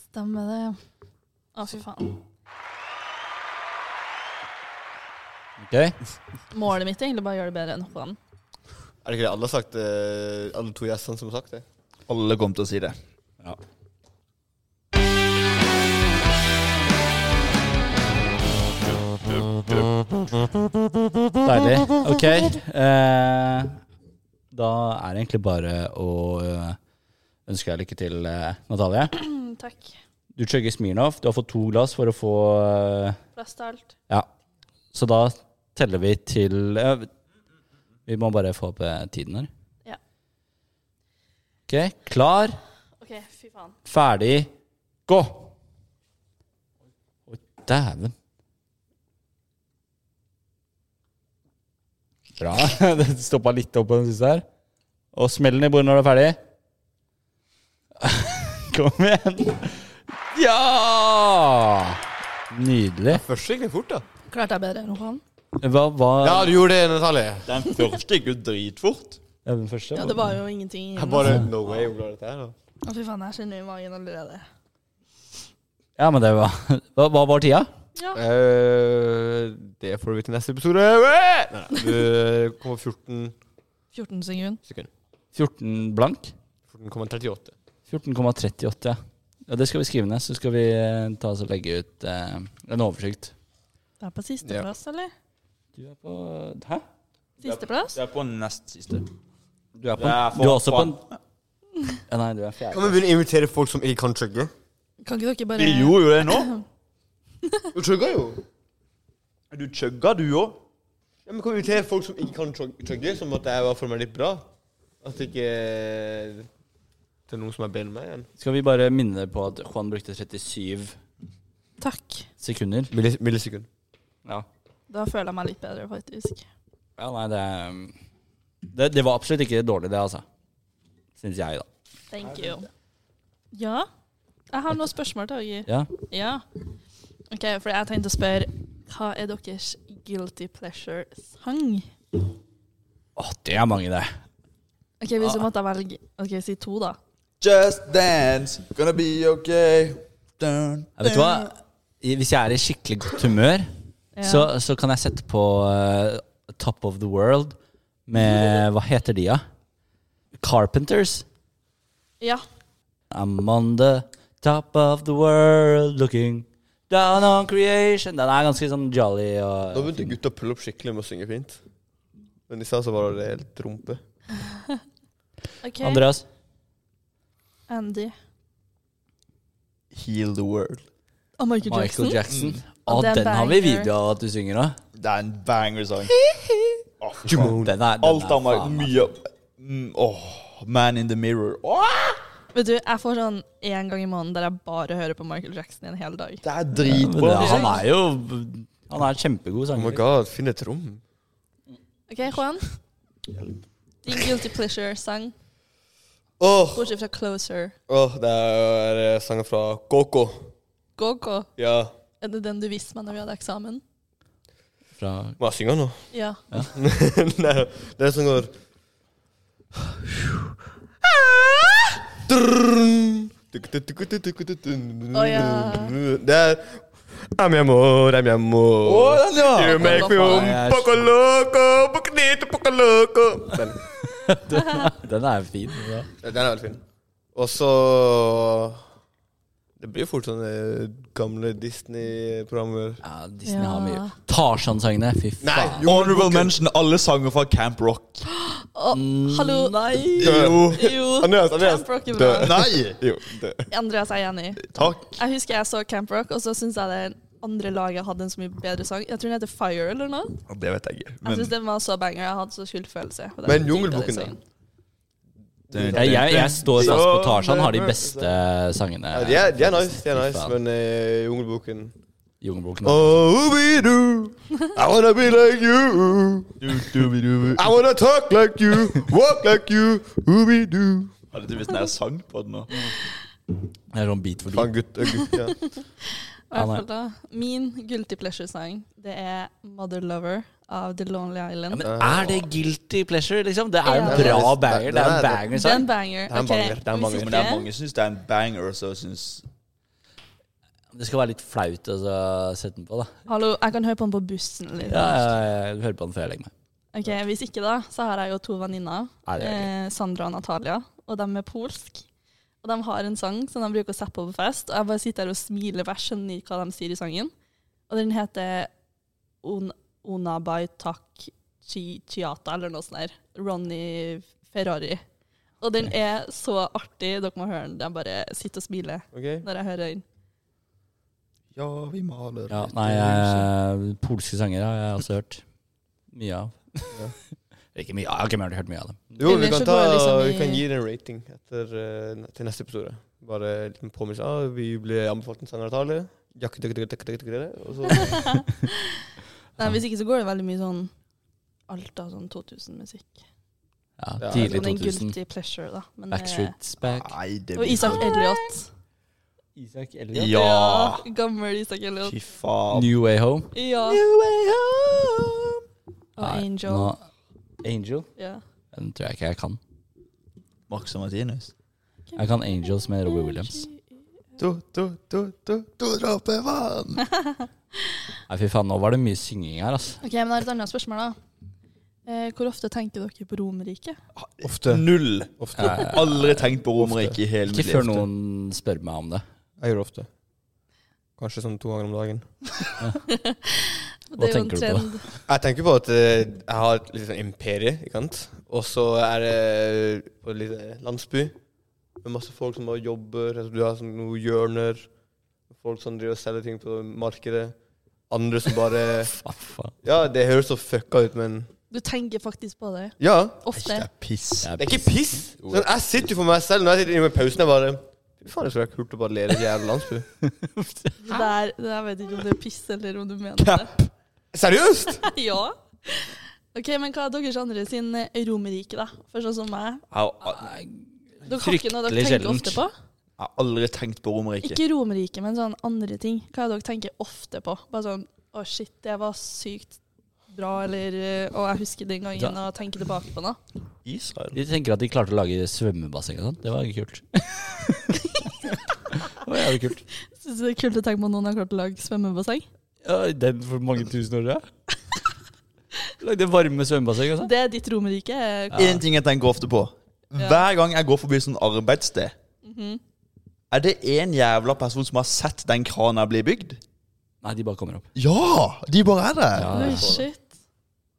Speaker 4: Stemmer det. Å, fy faen.
Speaker 1: Ok?
Speaker 4: Målet mitt er egentlig bare å gjøre det bedre enn Håkon.
Speaker 2: Er det ikke det alle har sagt? eh, Alle to gjestene som har sagt det?
Speaker 3: Alle kommer til å si det.
Speaker 1: Ja. Deilig. Ok. Eh, da er det egentlig bare å eh, ønske deg lykke til, eh, Natalie.
Speaker 4: Mm, Takk.
Speaker 1: Du chugger Smirnov. Du har fått to glass for å få eh,
Speaker 4: Plass til alt.
Speaker 1: Ja. Så da teller vi til eh, Vi må bare få opp eh, tiden her.
Speaker 4: Ja.
Speaker 1: Ok. Klar,
Speaker 4: OK, fy faen.
Speaker 1: ferdig, gå! Å, dæven. Bra. Det stoppa litt opp på den siste her. Og smell den i bordet når du er ferdig. Kom igjen. Ja! Nydelig.
Speaker 2: Første gikk det fort, da.
Speaker 4: Klarte jeg bedre enn Håkon?
Speaker 1: Hva, hva
Speaker 2: Ja, du gjorde det, Natalie.
Speaker 3: Den første gikk jo dritfort.
Speaker 1: Ja, den første?
Speaker 4: Ja, det var jo ingenting.
Speaker 2: Jeg bare No way hun klarer dette her, da.
Speaker 4: Å, fy faen, jeg kjenner i magen allerede.
Speaker 1: Ja, men det var Hva, hva var tida?
Speaker 4: Ja.
Speaker 2: Eh, det får du vite i neste episode. Nei, nei, du kommer 14
Speaker 4: 14 sekunder.
Speaker 2: sekunder.
Speaker 1: 14 blank?
Speaker 2: 14,38.
Speaker 1: 14,38, ja. ja. Det skal vi skrive ned, så skal vi eh, ta oss og legge ut eh, en oversikt.
Speaker 4: Det er på
Speaker 2: Ja.
Speaker 4: sisteplass, eller?
Speaker 1: Du er på Hæ?
Speaker 4: Sisteplass?
Speaker 3: er på nest siste.
Speaker 1: Du er, på,
Speaker 3: Det er for-
Speaker 1: du er også på en ja, Nei, du er
Speaker 2: Kan
Speaker 1: fjerde.
Speaker 2: vi begynne å invitere folk som ikke kan chugge?
Speaker 4: Kan ikke dere
Speaker 3: Vi
Speaker 4: bare
Speaker 3: gjorde jo det nå.
Speaker 2: Du chugger jo.
Speaker 3: Du chugga, du òg.
Speaker 2: Ja, men Kan vi invitere folk som ikke kan chug- chugge, som at jeg var for meg litt bra? At ikke det er noen som er bedre enn meg igjen?
Speaker 1: Skal vi bare minne deg på at Juan brukte 37
Speaker 4: Takk.
Speaker 1: sekunder?
Speaker 2: Millis millisekund.
Speaker 1: Ja.
Speaker 4: Da føler jeg meg litt bedre, faktisk.
Speaker 1: ja nei, det, um, det Det var absolutt ikke dårlig, det, altså. Syns jeg, da.
Speaker 4: Thank you. Ja? Jeg har noen spørsmål til dere.
Speaker 1: Ja.
Speaker 4: Ja. OK, for jeg tenkte å spørre Hva er deres guilty pleasure-sang?
Speaker 1: Å, det er mange, det.
Speaker 4: OK, hvis
Speaker 1: Ah.
Speaker 4: du måtte velge OK, si to, da.
Speaker 3: Just dance, gonna be okay. Dun,
Speaker 1: Ja, vet du hva? I- Hvis jeg er i skikkelig godt humør,
Speaker 4: Ja.
Speaker 1: så, så kan jeg sette på eh, Top of the World med Hva heter de, da? Carpenters.
Speaker 4: Ja.
Speaker 1: I'm on the top of the world looking down on creation. Den er ganske sånn jolly
Speaker 2: Nå
Speaker 1: og
Speaker 2: begynte gutta å pulle opp skikkelig med å synge fint. Men i stad så var det helt rumpe.
Speaker 4: OK.
Speaker 1: Andreas?
Speaker 4: Andy.
Speaker 3: Heal the world.
Speaker 4: Og Michael Jackson.
Speaker 1: Michael Jackson.
Speaker 3: Mm.
Speaker 1: Å,
Speaker 4: Og det er
Speaker 1: den har vi
Speaker 4: banger.
Speaker 1: video av at du synger òg.
Speaker 3: Det er en banger-sang.
Speaker 1: Den er, den er
Speaker 3: Alt av meg.
Speaker 1: faen meg-
Speaker 3: Mye mm, åh, Man in the mirror. Åh,
Speaker 4: Vet du, jeg får sånn én gang i måneden der jeg bare hører på Michael Jackson i en hel dag.
Speaker 3: det er
Speaker 1: Men det,
Speaker 3: dritbra.
Speaker 1: han er jo Han er kjempegod
Speaker 2: Oh my
Speaker 1: sanger.
Speaker 2: god, finn et rom.
Speaker 4: OK, Juan? Din guilty pleasure-sang,
Speaker 2: Åh,
Speaker 4: bortsett fra Closer.
Speaker 2: åh, det er eh, sanger fra Koko.
Speaker 4: Go-go.
Speaker 2: Ja.
Speaker 4: Er det den du viste meg når vi hadde eksamen?
Speaker 1: Fra
Speaker 2: Må jeg synge den nå?
Speaker 4: Ja.
Speaker 2: Nei, det er sånn går
Speaker 4: Å, ja.
Speaker 2: Det er I'm your mor, I'm your mor. You make me um,
Speaker 1: Jeg er-
Speaker 2: poco loco, bucnito, poco loco. Den,
Speaker 1: Den er fin.
Speaker 2: den er veldig fin. Og så Det blir fort sånne gamle Disney-programmer.
Speaker 1: Ja, Disney har mye.
Speaker 4: Ja.
Speaker 1: Tarzan-sangene, fy faen.
Speaker 3: Honorable mention alle sanger fra Camp Rock.
Speaker 4: Å, hallo.
Speaker 1: Nei!
Speaker 2: Jo.
Speaker 4: Jo,
Speaker 2: Andreas, Andreas.
Speaker 4: Camp Rock er bra.
Speaker 2: Død.
Speaker 3: Eh, Nei!
Speaker 2: Jo, død.
Speaker 4: Andreas er jeg enig i.
Speaker 3: Takk.
Speaker 4: Jeg husker jeg så Camp Rock, og så syns jeg det andre laget hadde en så mye bedre sang. Jeg tror den heter Fire eller noe.
Speaker 3: Det vet jeg ikke.
Speaker 4: Jeg syns den var så banger. Jeg hadde så skyldfølelse. Og den
Speaker 2: Men
Speaker 4: digga
Speaker 2: Jungelboken,
Speaker 4: den sangen.
Speaker 1: Jeg, jeg, jeg står fast på Tarzan har de beste sangene.
Speaker 2: Ja, de, er, de er nice, de er
Speaker 1: Fy
Speaker 2: nice,
Speaker 1: faen.
Speaker 2: men eh, Jungelboken
Speaker 1: Jungelboken.
Speaker 2: Oh, we do. I wanna be like you.
Speaker 3: Hadde
Speaker 2: I wanna talk like you. Walk like you. Ooby do.
Speaker 3: du visst når jeg sang på den nå?
Speaker 4: Mm.
Speaker 1: Det er sånn beat for beat.
Speaker 2: Faen, gutt. eh, gutt
Speaker 4: I
Speaker 2: ja.
Speaker 4: hvert
Speaker 1: Ja, nei.
Speaker 4: fall da. Min guilty pleasure-sang, det er Mother Lover av The Lonely Island.
Speaker 1: Ja, men er det guilty pleasure, liksom? Det er jo en
Speaker 4: Ja.
Speaker 1: bra banger. Det er
Speaker 2: Det er-
Speaker 1: en
Speaker 4: det er en
Speaker 1: banger-sang.
Speaker 4: banger.
Speaker 2: er en
Speaker 4: Ok,
Speaker 2: banger, det er en
Speaker 4: hvis
Speaker 2: banger.
Speaker 3: Men det er
Speaker 4: ikke-
Speaker 3: mange som syns det er en banger, og så syns
Speaker 1: Det skal være litt flaut å så sette den på, da.
Speaker 4: Hallo, jeg kan høre på den på bussen. Liksom.
Speaker 1: Ja, ja, ja, du hører på den før jeg legger meg.
Speaker 4: Ok, Hvis ikke, da, så har jeg jo to venninner.
Speaker 1: Nei, det er
Speaker 4: Eh, Sandra og Natalia. Og de er polsk. Og de har en sang som de bruker å sette på på fest. Og jeg bare sitter her og smiler, for jeg skjønner ikke hva de sier i sangen. Og den heter Un Onabai tak chi chiata, eller noe sånt der. Ronny Ferrari. Og den er så artig. Dere må høre den. Jeg bare sitter og smiler
Speaker 2: Ok.
Speaker 4: når jeg hører den.
Speaker 3: Ja, vi maler.
Speaker 1: Ja, nei, eh, polske sanger har jeg også hørt mye av. ikke mye, jeg har ikke mer hørt mye av dem.
Speaker 2: Jo, vi
Speaker 4: Ellers
Speaker 2: kan,
Speaker 4: så
Speaker 2: ta,
Speaker 4: går jeg liksom
Speaker 2: vi kan
Speaker 4: i-
Speaker 2: gi det en rating etter, eh, til neste episode. Bare en liten påminnelse. Ah, vi ble anbefalt en sanger av Tale. Jakke, jakke, jakke, jakke, jakke, jakke, og så-
Speaker 4: Nei, hvis ikke så går det veldig mye sånn alt av sånn 2000-musikk.
Speaker 1: Ja,
Speaker 2: Ja,
Speaker 1: tidlig
Speaker 4: Sånn en
Speaker 1: 2000.
Speaker 4: guilty pleasure, da. Men, eh,
Speaker 1: Backstreets back.
Speaker 3: Nei, det
Speaker 4: Og Isak Elliot.
Speaker 1: Isak
Speaker 3: Ja!
Speaker 4: Gammel Isak Elliot.
Speaker 3: Fy faen.
Speaker 1: New Way Home.
Speaker 4: Ja. Og
Speaker 1: Nei,
Speaker 4: Angel.
Speaker 1: nå- Angel?
Speaker 4: Ja.
Speaker 1: Den tror jeg ikke jeg kan.
Speaker 3: Max og Martinus.
Speaker 1: Jeg kan Angels med Robbie Williams.
Speaker 3: To, to, to, to, to dråper vann.
Speaker 1: Nei, fy faen, nå var det mye synging her, altså.
Speaker 4: Ok, men jeg har et annet spørsmål, da. Eh, hvor ofte tenker dere på Romerriket?
Speaker 2: Ofte.
Speaker 3: Null.
Speaker 2: Ofte.
Speaker 3: Aldri tenkt på Romerike i hele
Speaker 1: Eh, Ikke
Speaker 3: mitt
Speaker 1: før
Speaker 3: liv.
Speaker 1: noen spør meg om det.
Speaker 2: Jeg gjør det ofte. Kanskje sånn to ganger om dagen.
Speaker 4: Det er jo en
Speaker 1: tenker du på
Speaker 4: trend.
Speaker 2: Jeg tenker på at eh, jeg har et litt sånn imperie, ikke sant? Og så er det eh, på en liten landsby med masse folk som bare jobber. Altså, du har sånn noen hjørner. Folk som driver og selger ting på markedet. Andre som bare
Speaker 1: Hva faen?
Speaker 2: Ja, det høres så fucka ut, men
Speaker 4: Du tenker faktisk på det.
Speaker 2: Ja.
Speaker 4: Ofte.
Speaker 3: Piss.
Speaker 2: Det er ikke piss. Sånn, jeg sitter jo for meg selv når jeg sitter inne med pausen. Jeg bare Fy faen, det skulle vært kult å bare lede en jævla landsby.
Speaker 4: Det der, det der vet jeg ikke om det er piss, eller om du mener det.
Speaker 2: Seriøst?!
Speaker 4: ja. Ok, men hva er deres andre sin eh, Romerrike, da? For sånn som meg.
Speaker 3: Jeg har
Speaker 4: Dere har ikke noe dere
Speaker 1: Fryktelig
Speaker 4: tenker
Speaker 1: sjeldent.
Speaker 4: ofte på?
Speaker 3: jeg har aldri tenkt på Romerike.
Speaker 4: Ikke Romerike, men sånn andre ting. Hva er det dere tenker ofte på? Bare sånn Å, shit, det var sykt bra, eller eh, Å, jeg husker den gangen,
Speaker 1: Da-
Speaker 4: og tenker tilbake på noe.
Speaker 3: Israel?
Speaker 1: De tenker at de klarte å lage svømmebasseng og sånn. Det var kult. det var jævlig kult.
Speaker 4: Syns du det er kult å tenke på at noen har klart å lage svømmebasseng?
Speaker 1: Ja, den for mange tusen år siden. Lagde varme svømmebasseng og sånn.
Speaker 4: Det er ditt Romerrike. eh,
Speaker 1: Ja.
Speaker 3: Én ting jeg tenker ofte på. Hver gang jeg går forbi sånn arbeidssted,
Speaker 4: Mhm.
Speaker 3: er det en jævla person som har sett den krana bli bygd?
Speaker 1: Nei, de bare kommer opp.
Speaker 3: Ja! De bare er der.
Speaker 1: Ja,
Speaker 4: Oi,
Speaker 1: jeg
Speaker 4: shit.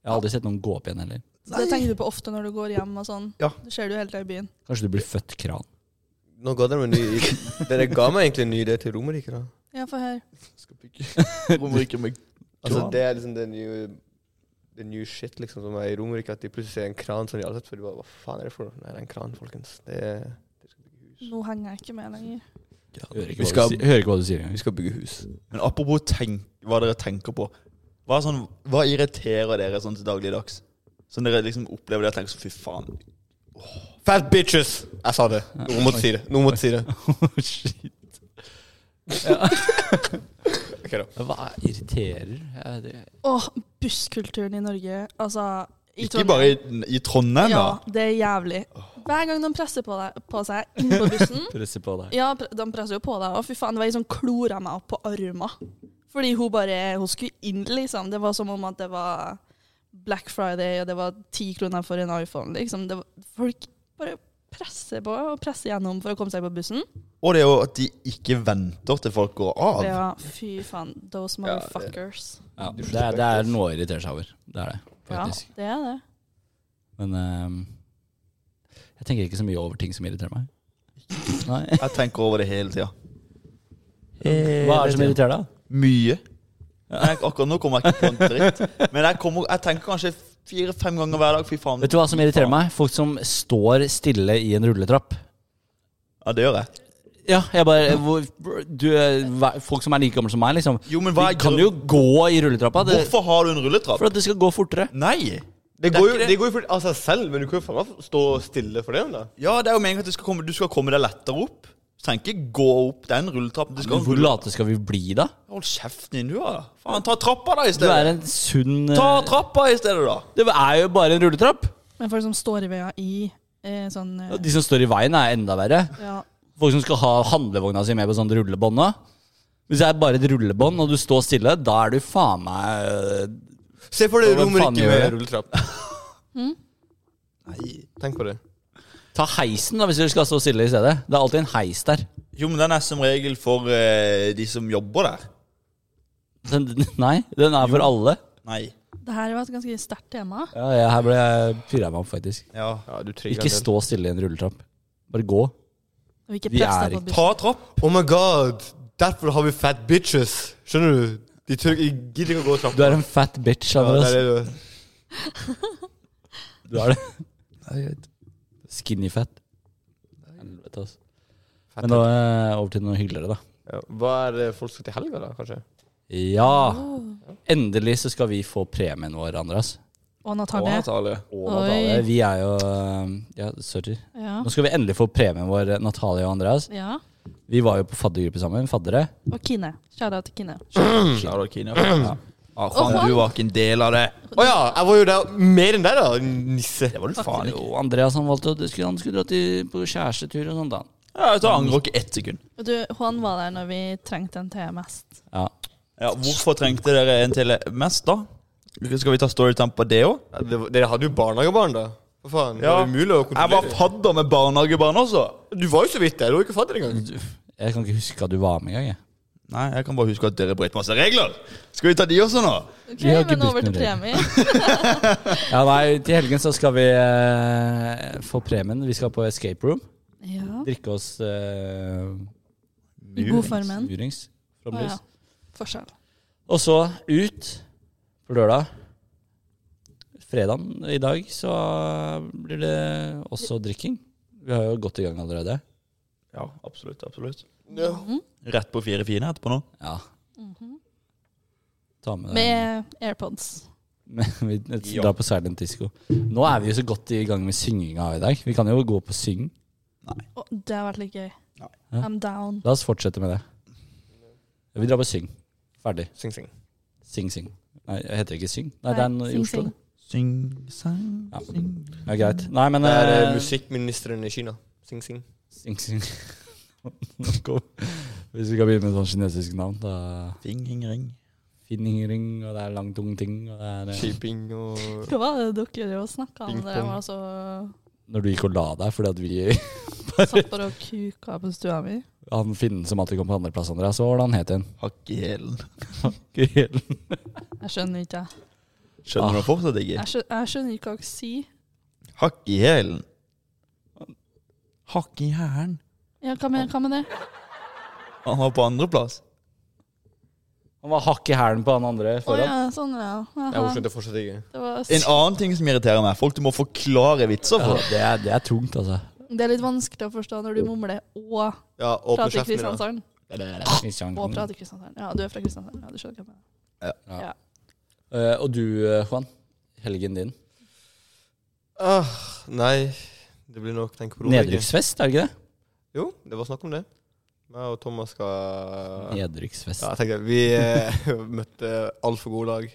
Speaker 1: har aldri sett noen gå opp igjen heller.
Speaker 4: Så det tenker du på ofte når du går hjem og sånn.
Speaker 3: Ja.
Speaker 4: Det ser du hele tida i byen.
Speaker 1: Kanskje du blir født kran.
Speaker 2: Nå ga dere meg en ny Dere ga meg egentlig en ny idé til Romerike, da.
Speaker 4: Ja, få høre.
Speaker 3: Romerike med
Speaker 2: Altså,
Speaker 3: Kran.
Speaker 2: det er liksom det nye The new shit liksom som er i Romerike, at de plutselig ser en kran som de aldri har sett før. De bare, Hva faen er det for noe? Nei, det er en kran, folkens. Det er
Speaker 4: Nå henger jeg ikke med lenger.
Speaker 1: Hører ikke,
Speaker 3: Vi
Speaker 1: hva
Speaker 3: skal-
Speaker 1: du si- hører ikke hva du sier engang.
Speaker 2: skal bygge hus.
Speaker 3: Men apropos tenk, hva dere tenker på. Hva, er sånn, hva irriterer dere sånn til dagligdags? Sånn dere liksom opplever det og tenker sånn fy faen.
Speaker 2: Fat bitches! Jeg sa det. Noen måtte si det. Noen måtte si det.
Speaker 1: Oh, Shit.
Speaker 2: Ok da.
Speaker 1: Hva irriterer? Jeg vet ikke.
Speaker 4: Å, busskulturen i Norge. Altså i
Speaker 3: Ikke bare i, i Trondheim,
Speaker 4: Ja,
Speaker 3: da.
Speaker 4: det er jævlig. Hver gang de presser på, deg, på seg inn på bussen
Speaker 1: Presser på deg.
Speaker 4: Ja, pre- de presser jo på deg. Og fy faen, det var ei som klora meg opp på armen. Fordi hun bare Hun skulle inn, liksom. Det var som om at det var Black Friday, og det var ti kroner for en iPhone, liksom. Det var, folk bare presser på og presser gjennom for å komme seg på bussen.
Speaker 3: Og det er jo at de ikke venter til folk går av.
Speaker 4: Ja, fy faen. Those
Speaker 2: Ja, det-
Speaker 4: motherfuckers.
Speaker 1: Ja, det, er, det er noe å irritere seg over. Det er det,
Speaker 4: Ja,
Speaker 1: faktisk.
Speaker 4: det er det.
Speaker 1: Men eh, jeg tenker ikke så mye over ting som irriterer meg. Nei.
Speaker 3: Jeg tenker over det hele tida.
Speaker 1: Hva er det som irriterer deg?
Speaker 3: Mye. Nei, akkurat nå kommer jeg ikke på en dritt. Men jeg, kommer, jeg tenker kanskje fire-fem ganger hver dag. Fy faen.
Speaker 1: Vet du hva som irriterer meg? Folk som står stille i en rulletrapp.
Speaker 3: Ja, det gjør jeg.
Speaker 1: Ja, jeg bare hvor- du, er- hva- Folk som er like gamle som meg, liksom.
Speaker 3: Jo, men hva er
Speaker 1: de kan jo gå i rulletrappa. Det,
Speaker 3: Hvorfor har du en
Speaker 1: for
Speaker 3: rulletrapp?
Speaker 1: at det skal gå fortere.
Speaker 3: Nei!
Speaker 2: Det
Speaker 1: er
Speaker 2: går,
Speaker 1: ikke
Speaker 2: jo,
Speaker 1: det.
Speaker 2: det går jo for- av seg selv, men du kan jo faen meg stå stille for det. om det.
Speaker 3: Ja, det er jo meningen at du skal komme, du skal komme deg lettere opp. Du trenger ikke gå opp den rulletrappen. Du skal
Speaker 1: Hvor late skal vi bli, da?
Speaker 3: Hold kjeften din, du, da. Faen, ta trappa, da, i
Speaker 1: Du
Speaker 3: stedet.
Speaker 1: er en sunn eh,
Speaker 3: Ta trappa i stedet, da.
Speaker 1: Det er jo bare en rulletrapp.
Speaker 4: Men folk som står i veia i eh, sånn eh,
Speaker 1: De som står i veien, er enda verre.
Speaker 4: ja.
Speaker 1: Folk som skal ha handlevogna si med på sånn rullebånd nå. Hvis det er bare et rullebånd, og du står stille, da er du faen meg eh,
Speaker 2: Se for deg
Speaker 1: Hva faen
Speaker 2: Romerike
Speaker 1: gjør
Speaker 2: med
Speaker 1: jeg?
Speaker 2: rulletrapp.
Speaker 1: Hm?
Speaker 2: Nei, tenk på det.
Speaker 1: Ta heisen, da, hvis dere skal stå stille i stedet. Det er alltid en heis der.
Speaker 3: Jo, men den er som regel for eh, de som jobber der.
Speaker 1: Den, nei, den er for alle.
Speaker 3: Nei.
Speaker 4: Det her var et ganske sterkt tema.
Speaker 1: Ja, jeg, her ble jeg pirra meg opp, faktisk.
Speaker 3: Ja.
Speaker 2: Ja, du trigger
Speaker 1: Ikke
Speaker 2: den.
Speaker 1: stå stille i en rulletrapp. Bare gå.
Speaker 4: Og ikke
Speaker 1: Vi
Speaker 4: press
Speaker 1: er
Speaker 4: deg på
Speaker 1: ikke-
Speaker 4: bussen.
Speaker 3: Ta trapp.
Speaker 2: Oh my god, derfor har vi fat bitches. Skjønner du? De tør, de gidder ikke å gå
Speaker 1: Du
Speaker 2: trappa.
Speaker 1: er en fat bitch,
Speaker 2: Ja, det
Speaker 1: Andreas.
Speaker 2: er det du er.
Speaker 1: du er det. Skinny fat. Helvete, altså.
Speaker 2: Fat
Speaker 1: Men nå eh, over til noe hyggeligere, da.
Speaker 2: Ja, hva er det folk skal til helga, da, kanskje?
Speaker 1: Ja!
Speaker 4: Oh.
Speaker 1: Endelig så skal vi få premien vår, Andreas.
Speaker 4: Og Natalie.
Speaker 1: altså.
Speaker 3: Natalie.
Speaker 1: Og
Speaker 4: Oi.
Speaker 1: Natalie. Vi er jo eh, Ja, sorry.
Speaker 4: Ja.
Speaker 1: Nå skal vi endelig få premien vår, eh, Natalie og Andreas.
Speaker 4: ja.
Speaker 1: Vi var jo på faddergruppe sammen. Faddere.
Speaker 4: Og Kine. Kjære til Kine.
Speaker 3: Ja, da, Kine. Ja. Ah, faen,
Speaker 4: faen.
Speaker 3: du var ikke en del av det.
Speaker 2: Å ja, jeg var jo der mer enn deg, da. Nisse.
Speaker 3: Det var du faen
Speaker 1: Faen,
Speaker 3: ikke.
Speaker 1: jo, Andreas han valgte å skulle, Han skulle dra til, på kjærestetur og sånt. da
Speaker 3: Ja, jeg tar angrer ikke ett sekund.
Speaker 4: Og du, Juan var der når vi trengte en til mest.
Speaker 1: Ja.
Speaker 3: Ja, Hvorfor trengte dere en til mest, da? Skal vi ta storytime på det òg?
Speaker 2: Ja, det var- Dere hadde jo barnehagebarn, da. Hva faen?
Speaker 3: Ja.
Speaker 2: Var det umulig å
Speaker 3: Jeg var
Speaker 2: kontrollere?
Speaker 3: fadder med barnehagebarn også.
Speaker 2: Du var jo så vidt der. Du var ikke fadder engang.
Speaker 1: Jeg kan ikke huske at du var med engang. jeg.
Speaker 3: Nei, jeg kan bare huske at dere brøt masse regler. Skal vi ta de også nå?
Speaker 4: Ok,
Speaker 1: Vi har ikke
Speaker 4: men over
Speaker 1: bytt
Speaker 4: til
Speaker 1: noe
Speaker 4: premie.
Speaker 1: Ja, nei, Til helgen så skal vi eh, få premien. Vi skal på escape room.
Speaker 4: Ja.
Speaker 1: Drikke oss eh,
Speaker 4: I god formen.
Speaker 1: murings.
Speaker 4: Å
Speaker 1: Flomlys.
Speaker 4: ja. Forskjell.
Speaker 1: Og så ut på lørdag. Fredagen i dag så blir det også drikking. Vi har jo gått i gang allerede.
Speaker 3: Ja, absolutt. absolutt
Speaker 2: Ja.
Speaker 3: Rett på fire fine etterpå nå.
Speaker 1: Ja. Ta med deg
Speaker 4: Mhm. Med AirPods.
Speaker 1: med- Vi drar på Silent Disco. Nå er vi jo så godt i gang med synginga i dag. Vi kan jo gå på syng.
Speaker 4: Å, det har vært litt gøy.
Speaker 3: Nei.
Speaker 4: I'm down.
Speaker 1: La oss fortsette med det. Vi drar på syng. Ferdig.
Speaker 2: Sing, sing.
Speaker 1: Sing, sing. Nei, jeg heter ikke syng. Nei, det er noe i
Speaker 4: Sing,
Speaker 1: Oslo.
Speaker 4: sing.
Speaker 1: det.
Speaker 3: Syng, sang,
Speaker 1: Ja.
Speaker 3: syng
Speaker 1: Ja, greit. Nei, men
Speaker 2: Det er eh,
Speaker 1: eh,
Speaker 2: musikkministeren i Kina. Sing, sing.
Speaker 1: Sing, sing. Nå kom- Hvis vi kan begynne med sånn kinesisk navn, da
Speaker 3: Fing, hing, ring.
Speaker 1: Finningring, og det er lang, tung ting, og det er eh,
Speaker 2: Shipping og
Speaker 4: Hva var det dere snakka om
Speaker 2: Ping
Speaker 4: da jeg
Speaker 2: pong.
Speaker 4: var så
Speaker 1: Når du gikk og la deg fordi at vi
Speaker 4: satt bare og kuka på stua mi?
Speaker 1: Han finnen som alltid kom på andreplass, Andreas, hva var det han het igjen?
Speaker 3: Hakk i hælen.
Speaker 1: Grelen.
Speaker 4: Jeg skjønner ikke, jeg.
Speaker 1: Ah.
Speaker 3: Skjønner du fortsatt ikke?
Speaker 4: Jeg skjønner, jeg skjønner ikke hva dere sier.
Speaker 3: Hakk i hælen. Hakk i hælen?
Speaker 4: Ja, hva med, hva med det?
Speaker 3: Han var på andreplass.
Speaker 1: Han var hakk i hælen på han andre
Speaker 4: Å
Speaker 1: foran.
Speaker 4: ja, sånn, ja.
Speaker 2: Jeg
Speaker 4: Aha.
Speaker 2: skjønte fortsatt ikke.
Speaker 4: Det, var,
Speaker 3: En annen ting som irriterer meg, folk du må forklare vitser
Speaker 1: Ja,
Speaker 3: for.
Speaker 1: det, er, det er tungt, altså.
Speaker 4: det er litt vanskelig å forstå når du mumler og
Speaker 2: Ja, åpne
Speaker 4: prater
Speaker 2: kjeften din. da.
Speaker 4: Kristiansand.
Speaker 1: Mm.
Speaker 4: Og prater Kristiansand. Ja, du er fra Kristiansand. Ja, du skjønner hva jeg mener.
Speaker 1: Eh, og du, eh, Juan. Helgen din.
Speaker 2: Ah, nei, det blir nok tenk på Romerike.
Speaker 1: Nedrykksfest, er det ikke det?
Speaker 2: Jo, det var snakk om det. Jeg og Thomas skal
Speaker 1: Nedrykksfest.
Speaker 2: Ja, jeg tenkte Vi eh, møtte altfor gode lag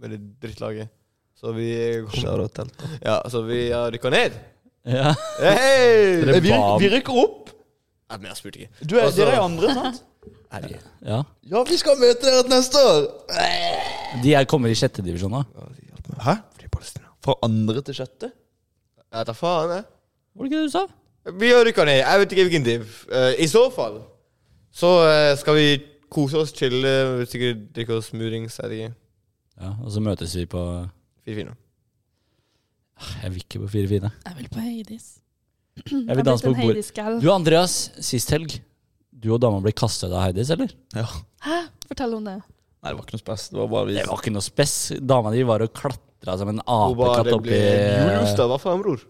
Speaker 2: med det drittlaget. Så vi kom,
Speaker 3: Shout out til.
Speaker 2: Ja, så vi har rykka ned.
Speaker 1: Ja.
Speaker 2: Hey!
Speaker 1: Dere
Speaker 3: Vi,
Speaker 1: ba-
Speaker 3: vi rykker opp!
Speaker 2: Nei, Ah, men jeg spurte ikke.
Speaker 3: Du er,
Speaker 2: Altså-
Speaker 3: dere er andre, sant?
Speaker 1: ja.
Speaker 3: Ja, vi skal møte dere til neste år!
Speaker 1: De er kommer i sjette divisjon nå.
Speaker 3: Hæ? Fra andre til sjette?
Speaker 2: Jeg tar faen, jeg.
Speaker 1: Var det ikke det du sa?
Speaker 2: Vi har rykka ned. Jeg vet ikke hvilken div. Eh, I så fall så eh, skal vi kose oss, chille, sikkert drikke oss murings. Jeg vet ikke.
Speaker 1: Ja, og så møtes vi på
Speaker 2: Fire fine.
Speaker 1: Jeg vil ikke på Fire fine.
Speaker 4: Jeg vil på Heidis.
Speaker 1: Jeg vil danse på bordet.
Speaker 4: bordet.
Speaker 1: Du Andreas, sist helg Du og dama ble kastet av Heidis, eller?
Speaker 4: Hæ? Fortell om det.
Speaker 3: Nei, det var ikke noe spes. Det var bare vi
Speaker 1: Det var ikke noe spess. Dama di var og klatra som en
Speaker 2: Hun bare
Speaker 1: apekatt oppi
Speaker 2: ble Julius, da. Hva faen, bror?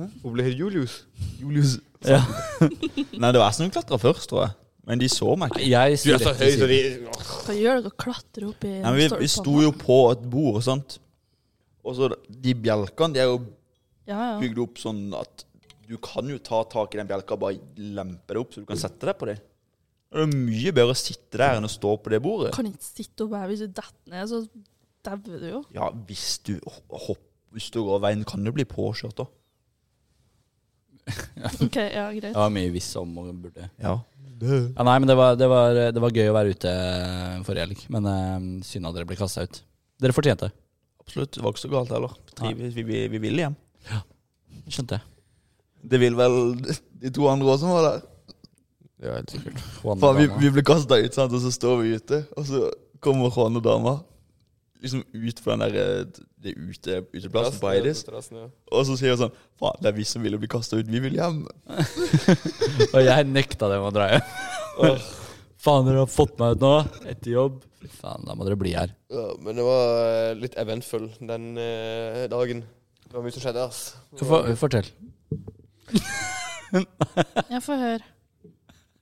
Speaker 2: Hun ble helt Julius.
Speaker 3: Julius.
Speaker 1: Ja.
Speaker 3: Nei, det var jeg som klatra først, tror jeg. Men de så meg ikke.
Speaker 1: Jeg
Speaker 2: Du
Speaker 1: sto
Speaker 2: er så
Speaker 1: rett
Speaker 2: høy,
Speaker 1: ved
Speaker 2: så
Speaker 1: siden.
Speaker 2: de
Speaker 4: Hva gjør dere? Klatre opp i
Speaker 3: Nei, men vi, vi sto jo på et bord, sant. Og så de bjelkene, de er jo
Speaker 4: Ja, ja.
Speaker 3: bygd opp sånn at du kan jo ta tak i den bjelka og bare lempe det opp, så du kan sette deg på det. Det er mye bedre å sitte der enn å stå på det bordet.
Speaker 4: Kan ikke sitte opp her. Hvis du detter ned, så dauer du jo.
Speaker 3: Ja, hvis du hopper hvis du går veien, kan du bli påkjørt da.
Speaker 4: Ok, ja, greit.
Speaker 1: Det var mye visst om og burde
Speaker 3: Ja.
Speaker 1: Ja, nei, men det var, det, var, det var gøy å være ute forrige helg. Men eh, synd at dere ble kasta ut. Dere fortjente det.
Speaker 3: Absolutt. Det var ikke så galt heller. Trives, vi, vi, vi vil hjem.
Speaker 1: Skjønte jeg.
Speaker 3: Det vil vel de to andre også som var der.
Speaker 2: Ja, helt sikkert.
Speaker 1: Juan
Speaker 3: For vi,
Speaker 1: Dama.
Speaker 3: vi ble kasta ut, sant? og så står vi ute, og så kommer Juan og dama liksom ut på den der, det ute, uteplassen på Heidis. Og så sier hun sånn Faen, det er vi som ville bli kasta ut. Vi vil hjem.
Speaker 1: Og jeg nekta dem å dra hjem. Faen, dere har fått meg ut nå. Etter jobb. Fy Faen, da må dere bli her.
Speaker 2: Ja, men det var eh, litt eventfull den eh, dagen. Det var mye som skjedde, ass.
Speaker 1: Så for, fortell.
Speaker 4: Jeg får høre.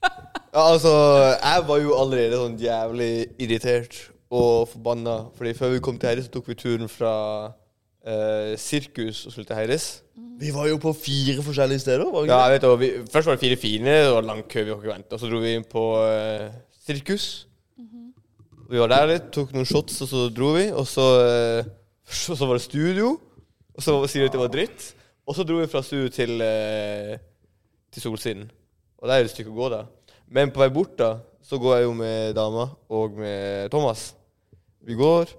Speaker 2: Ja, altså, jeg var jo allerede sånn jævlig irritert og forbanna. Fordi før vi kom til Heidis, så tok vi turen fra eh, sirkus og skulle til Heidis.
Speaker 3: Vi var jo på fire forskjellige steder. var vi ikke
Speaker 2: Ja,
Speaker 3: det?
Speaker 2: jeg vet det, og vi, Først var det fire fine, det var lang kø, vi kunne ikke vente. Og så dro vi inn på eh, sirkus. Vi var der litt, tok noen shots, og så dro vi. Og så, eh, så, så var det studio, og så sier de at det var dritt. Og så dro vi fra studio til, eh, til Solsiden. Og det er jo et stykke å gå, da. Men på vei bort da, så går jeg jo med dama og med Thomas. Vi går,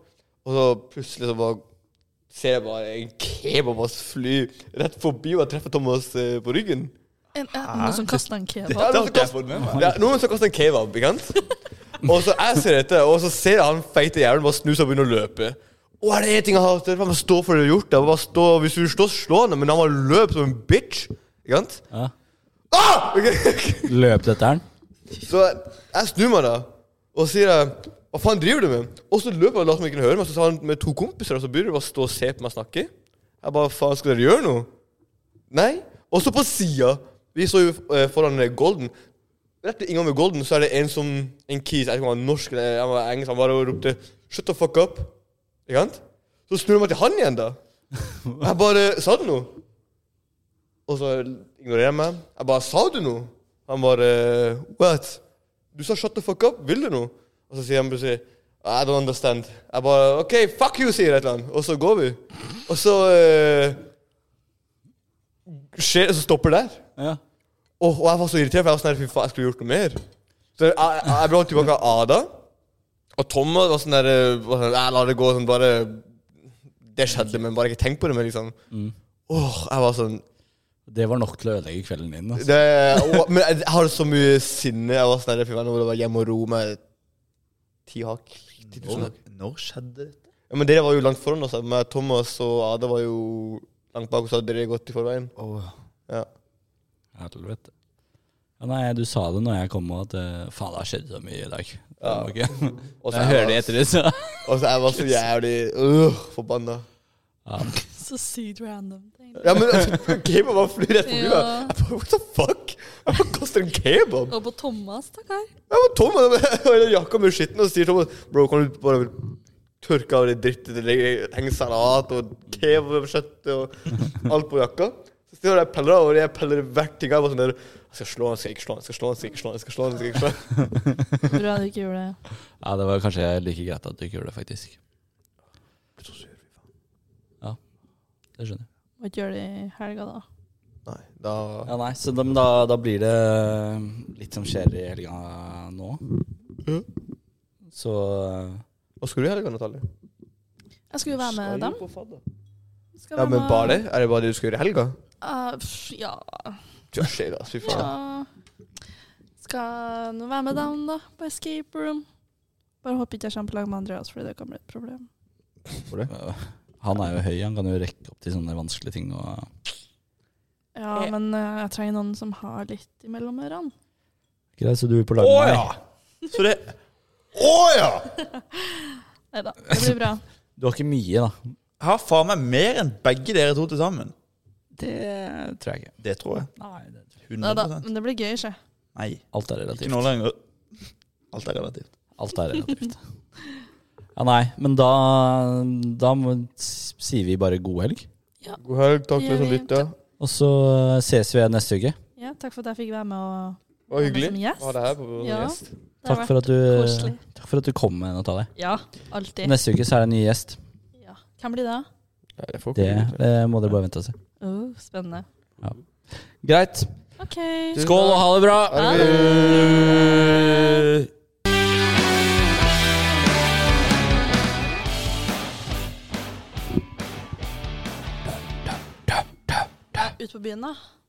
Speaker 2: og så plutselig så bare ser jeg bare en kebab bare fly rett forbi og jeg treffer Thomas eh, på ryggen.
Speaker 4: En, en, noen som kaster en
Speaker 2: Ja,
Speaker 4: kebab.
Speaker 2: noen som kaster- ja, noen som kaster en kebab, ikke sant? Og så jeg ser dette, og så ser jeg han feite jævelen bare snu seg og begynne å løpe. Og er det én ting jeg hater? Bare stå for det du har gjort. da. Bare stå, hvis du står, slå han. Men han bare løp som en bitch. Ikke sant?
Speaker 1: Ja.
Speaker 2: Ah! Ok.
Speaker 1: Løp etter den.
Speaker 2: Så jeg snur meg da og sier eh, Hva faen driver du med? Og så løper han og later som han ikke hører meg. Så sa han med to kompiser, og så begynner de bare å stå og se på meg snakke. Jeg bare Faen, skal dere gjøre noe? Nei. Og så på sida Vi står jo eh, foran eh, Golden. Rett ved inngangen ved Golden så er det en som En kis, jeg vet ikke om han var norsk eller han var engelsk, han bare ropte 'Shut the fuck up'. Ikke sant? Så snur jeg meg til han igjen, da. Jeg bare Sa du noe? Og så ignorerer han meg. Jeg bare 'Sa du noe?' Han bare 'What?' Du sa 'shut the fuck up'. Vil du noe? Og så sier han plutselig 'I don't understand'. Jeg bare 'OK, fuck you', sier jeg et eller annet. Og så går vi. Og så eh, skjer det, så stopper det der.
Speaker 1: Ja.
Speaker 2: Og, og jeg var så irritert, for jeg var sånn her, fy faen, jeg skulle gjort noe mer. Så jeg, jeg, jeg ble holdt tilbake av Ada. Og Thomas var sånn der eh, var sånn, Jeg lar det gå sånn, bare Det skjedde, men bare ikke tenk på det mer, liksom. Åh, jeg var sånn
Speaker 1: Det var nok til å ødelegge kvelden din. Altså.
Speaker 2: det, og, men jeg har så mye sinne. Jeg var sånn der, fy faen, nå må jeg være hjemme og ro med ti hakk. 10 000 hakk.
Speaker 3: Når skjedde dette?
Speaker 2: Ja, men dere var jo langt foran oss. Men Thomas og Ada var jo langt bak, og så hadde dere gått i forveien. Ja.
Speaker 1: Helvete. Ja, nei, du sa det når jeg kom, og at eh, faen, det har skjedd så mye i dag. Det må ikke-
Speaker 2: Og så
Speaker 1: Jeg hører det
Speaker 2: jeg,
Speaker 1: etter det, så.
Speaker 2: var- og så jeg var så jævlig øh, forbanna.
Speaker 1: Ja.
Speaker 4: Så sykt random. egentlig.
Speaker 2: Ja, men altså, kebab bare flyr rett forbi meg.
Speaker 4: Ja.
Speaker 2: Jeg bare, What the fuck? Jeg bare kaster en kebab.
Speaker 4: Og på Thomas, stakkar.
Speaker 2: Jeg var tom, og hele jakka mi er skitten, og så sier Thomas Bro, kan du bare tørke av det drittet det ligger- henger salat og kebab over kjøttet og alt på jakka? Så står jeg og peller av, og jeg peller hvert ting. Jeg bare sånn der Jeg skal slå han, skal jeg ikke slå han, skal jeg slå han, skal jeg ikke slå han, skal jeg slå han, skal jeg ikke slå han.
Speaker 4: Bra du ikke gjorde det.
Speaker 1: ja, det var kanskje like greit at du ikke gjorde det, faktisk. Ja, det skjønner jeg.
Speaker 4: Må ikke gjøre det i helga, da.
Speaker 2: Nei, da
Speaker 1: Ja, nei, så da, men da, da blir det litt som skjer i helga nå. Så eh,
Speaker 2: Hva skal du i helga, Natalie?
Speaker 4: Jeg skulle jo være med dem.
Speaker 2: Ja, men bare det? Er det bare det du skal gjøre i helga?
Speaker 4: Eh, pff, Ah, ja
Speaker 2: Kjørsel, altså. Fy faen.
Speaker 4: Ja. Skal nå være med dem, da, på escape room. Bare håper ikke jeg kommer på lag med Andreas, Fordi det kan bli et problem.
Speaker 1: Han er jo høy, han kan jo rekke opp til sånne vanskelige ting. Og
Speaker 4: Ja, men eh, jeg trenger noen som har litt imellom ørene.
Speaker 1: Greit, så du er på
Speaker 6: Å
Speaker 1: lag med
Speaker 6: ja!
Speaker 1: meg?
Speaker 6: Så det Å ja!
Speaker 4: Nei da, det blir bra.
Speaker 1: Du har ikke mye, da.
Speaker 3: Jeg har faen meg mer enn begge dere to til sammen.
Speaker 1: Det tror jeg ikke.
Speaker 3: Det tror jeg.
Speaker 1: Nei, det tror jeg.
Speaker 3: 100
Speaker 4: Nei da, men det blir gøy, ikke
Speaker 3: Nei,
Speaker 1: Alt er
Speaker 3: ikke
Speaker 1: relativt.
Speaker 3: nå lenger. Alt er relativt.
Speaker 1: Alt er relativt. Ja, nei, men da, da må, sier vi bare god helg.
Speaker 2: God helg. Takk til dere
Speaker 4: Ja,
Speaker 2: som
Speaker 4: vi-
Speaker 2: lytta.
Speaker 1: Og så ses vi igjen neste uke.
Speaker 4: Ja, takk for at jeg fikk være med og
Speaker 2: Det var hyggelig
Speaker 4: Som gjest.
Speaker 2: å ha deg her på som
Speaker 4: Ja.
Speaker 2: gjest.
Speaker 4: det har
Speaker 1: Takk for at du,
Speaker 4: koselig.
Speaker 1: takk for at du kom, Natalie.
Speaker 4: Ja, alltid.
Speaker 1: Neste uke så er det en ny gjest.
Speaker 4: Ja. Hvem blir det?
Speaker 2: Nei, det får
Speaker 1: Det
Speaker 2: ikke bli.
Speaker 1: eh, må dere bare vente og se.
Speaker 4: Oh, spennende.
Speaker 1: Greit.
Speaker 4: OK.
Speaker 1: Skål og ha det bra!
Speaker 2: Ha det.
Speaker 4: Ut på byen, da.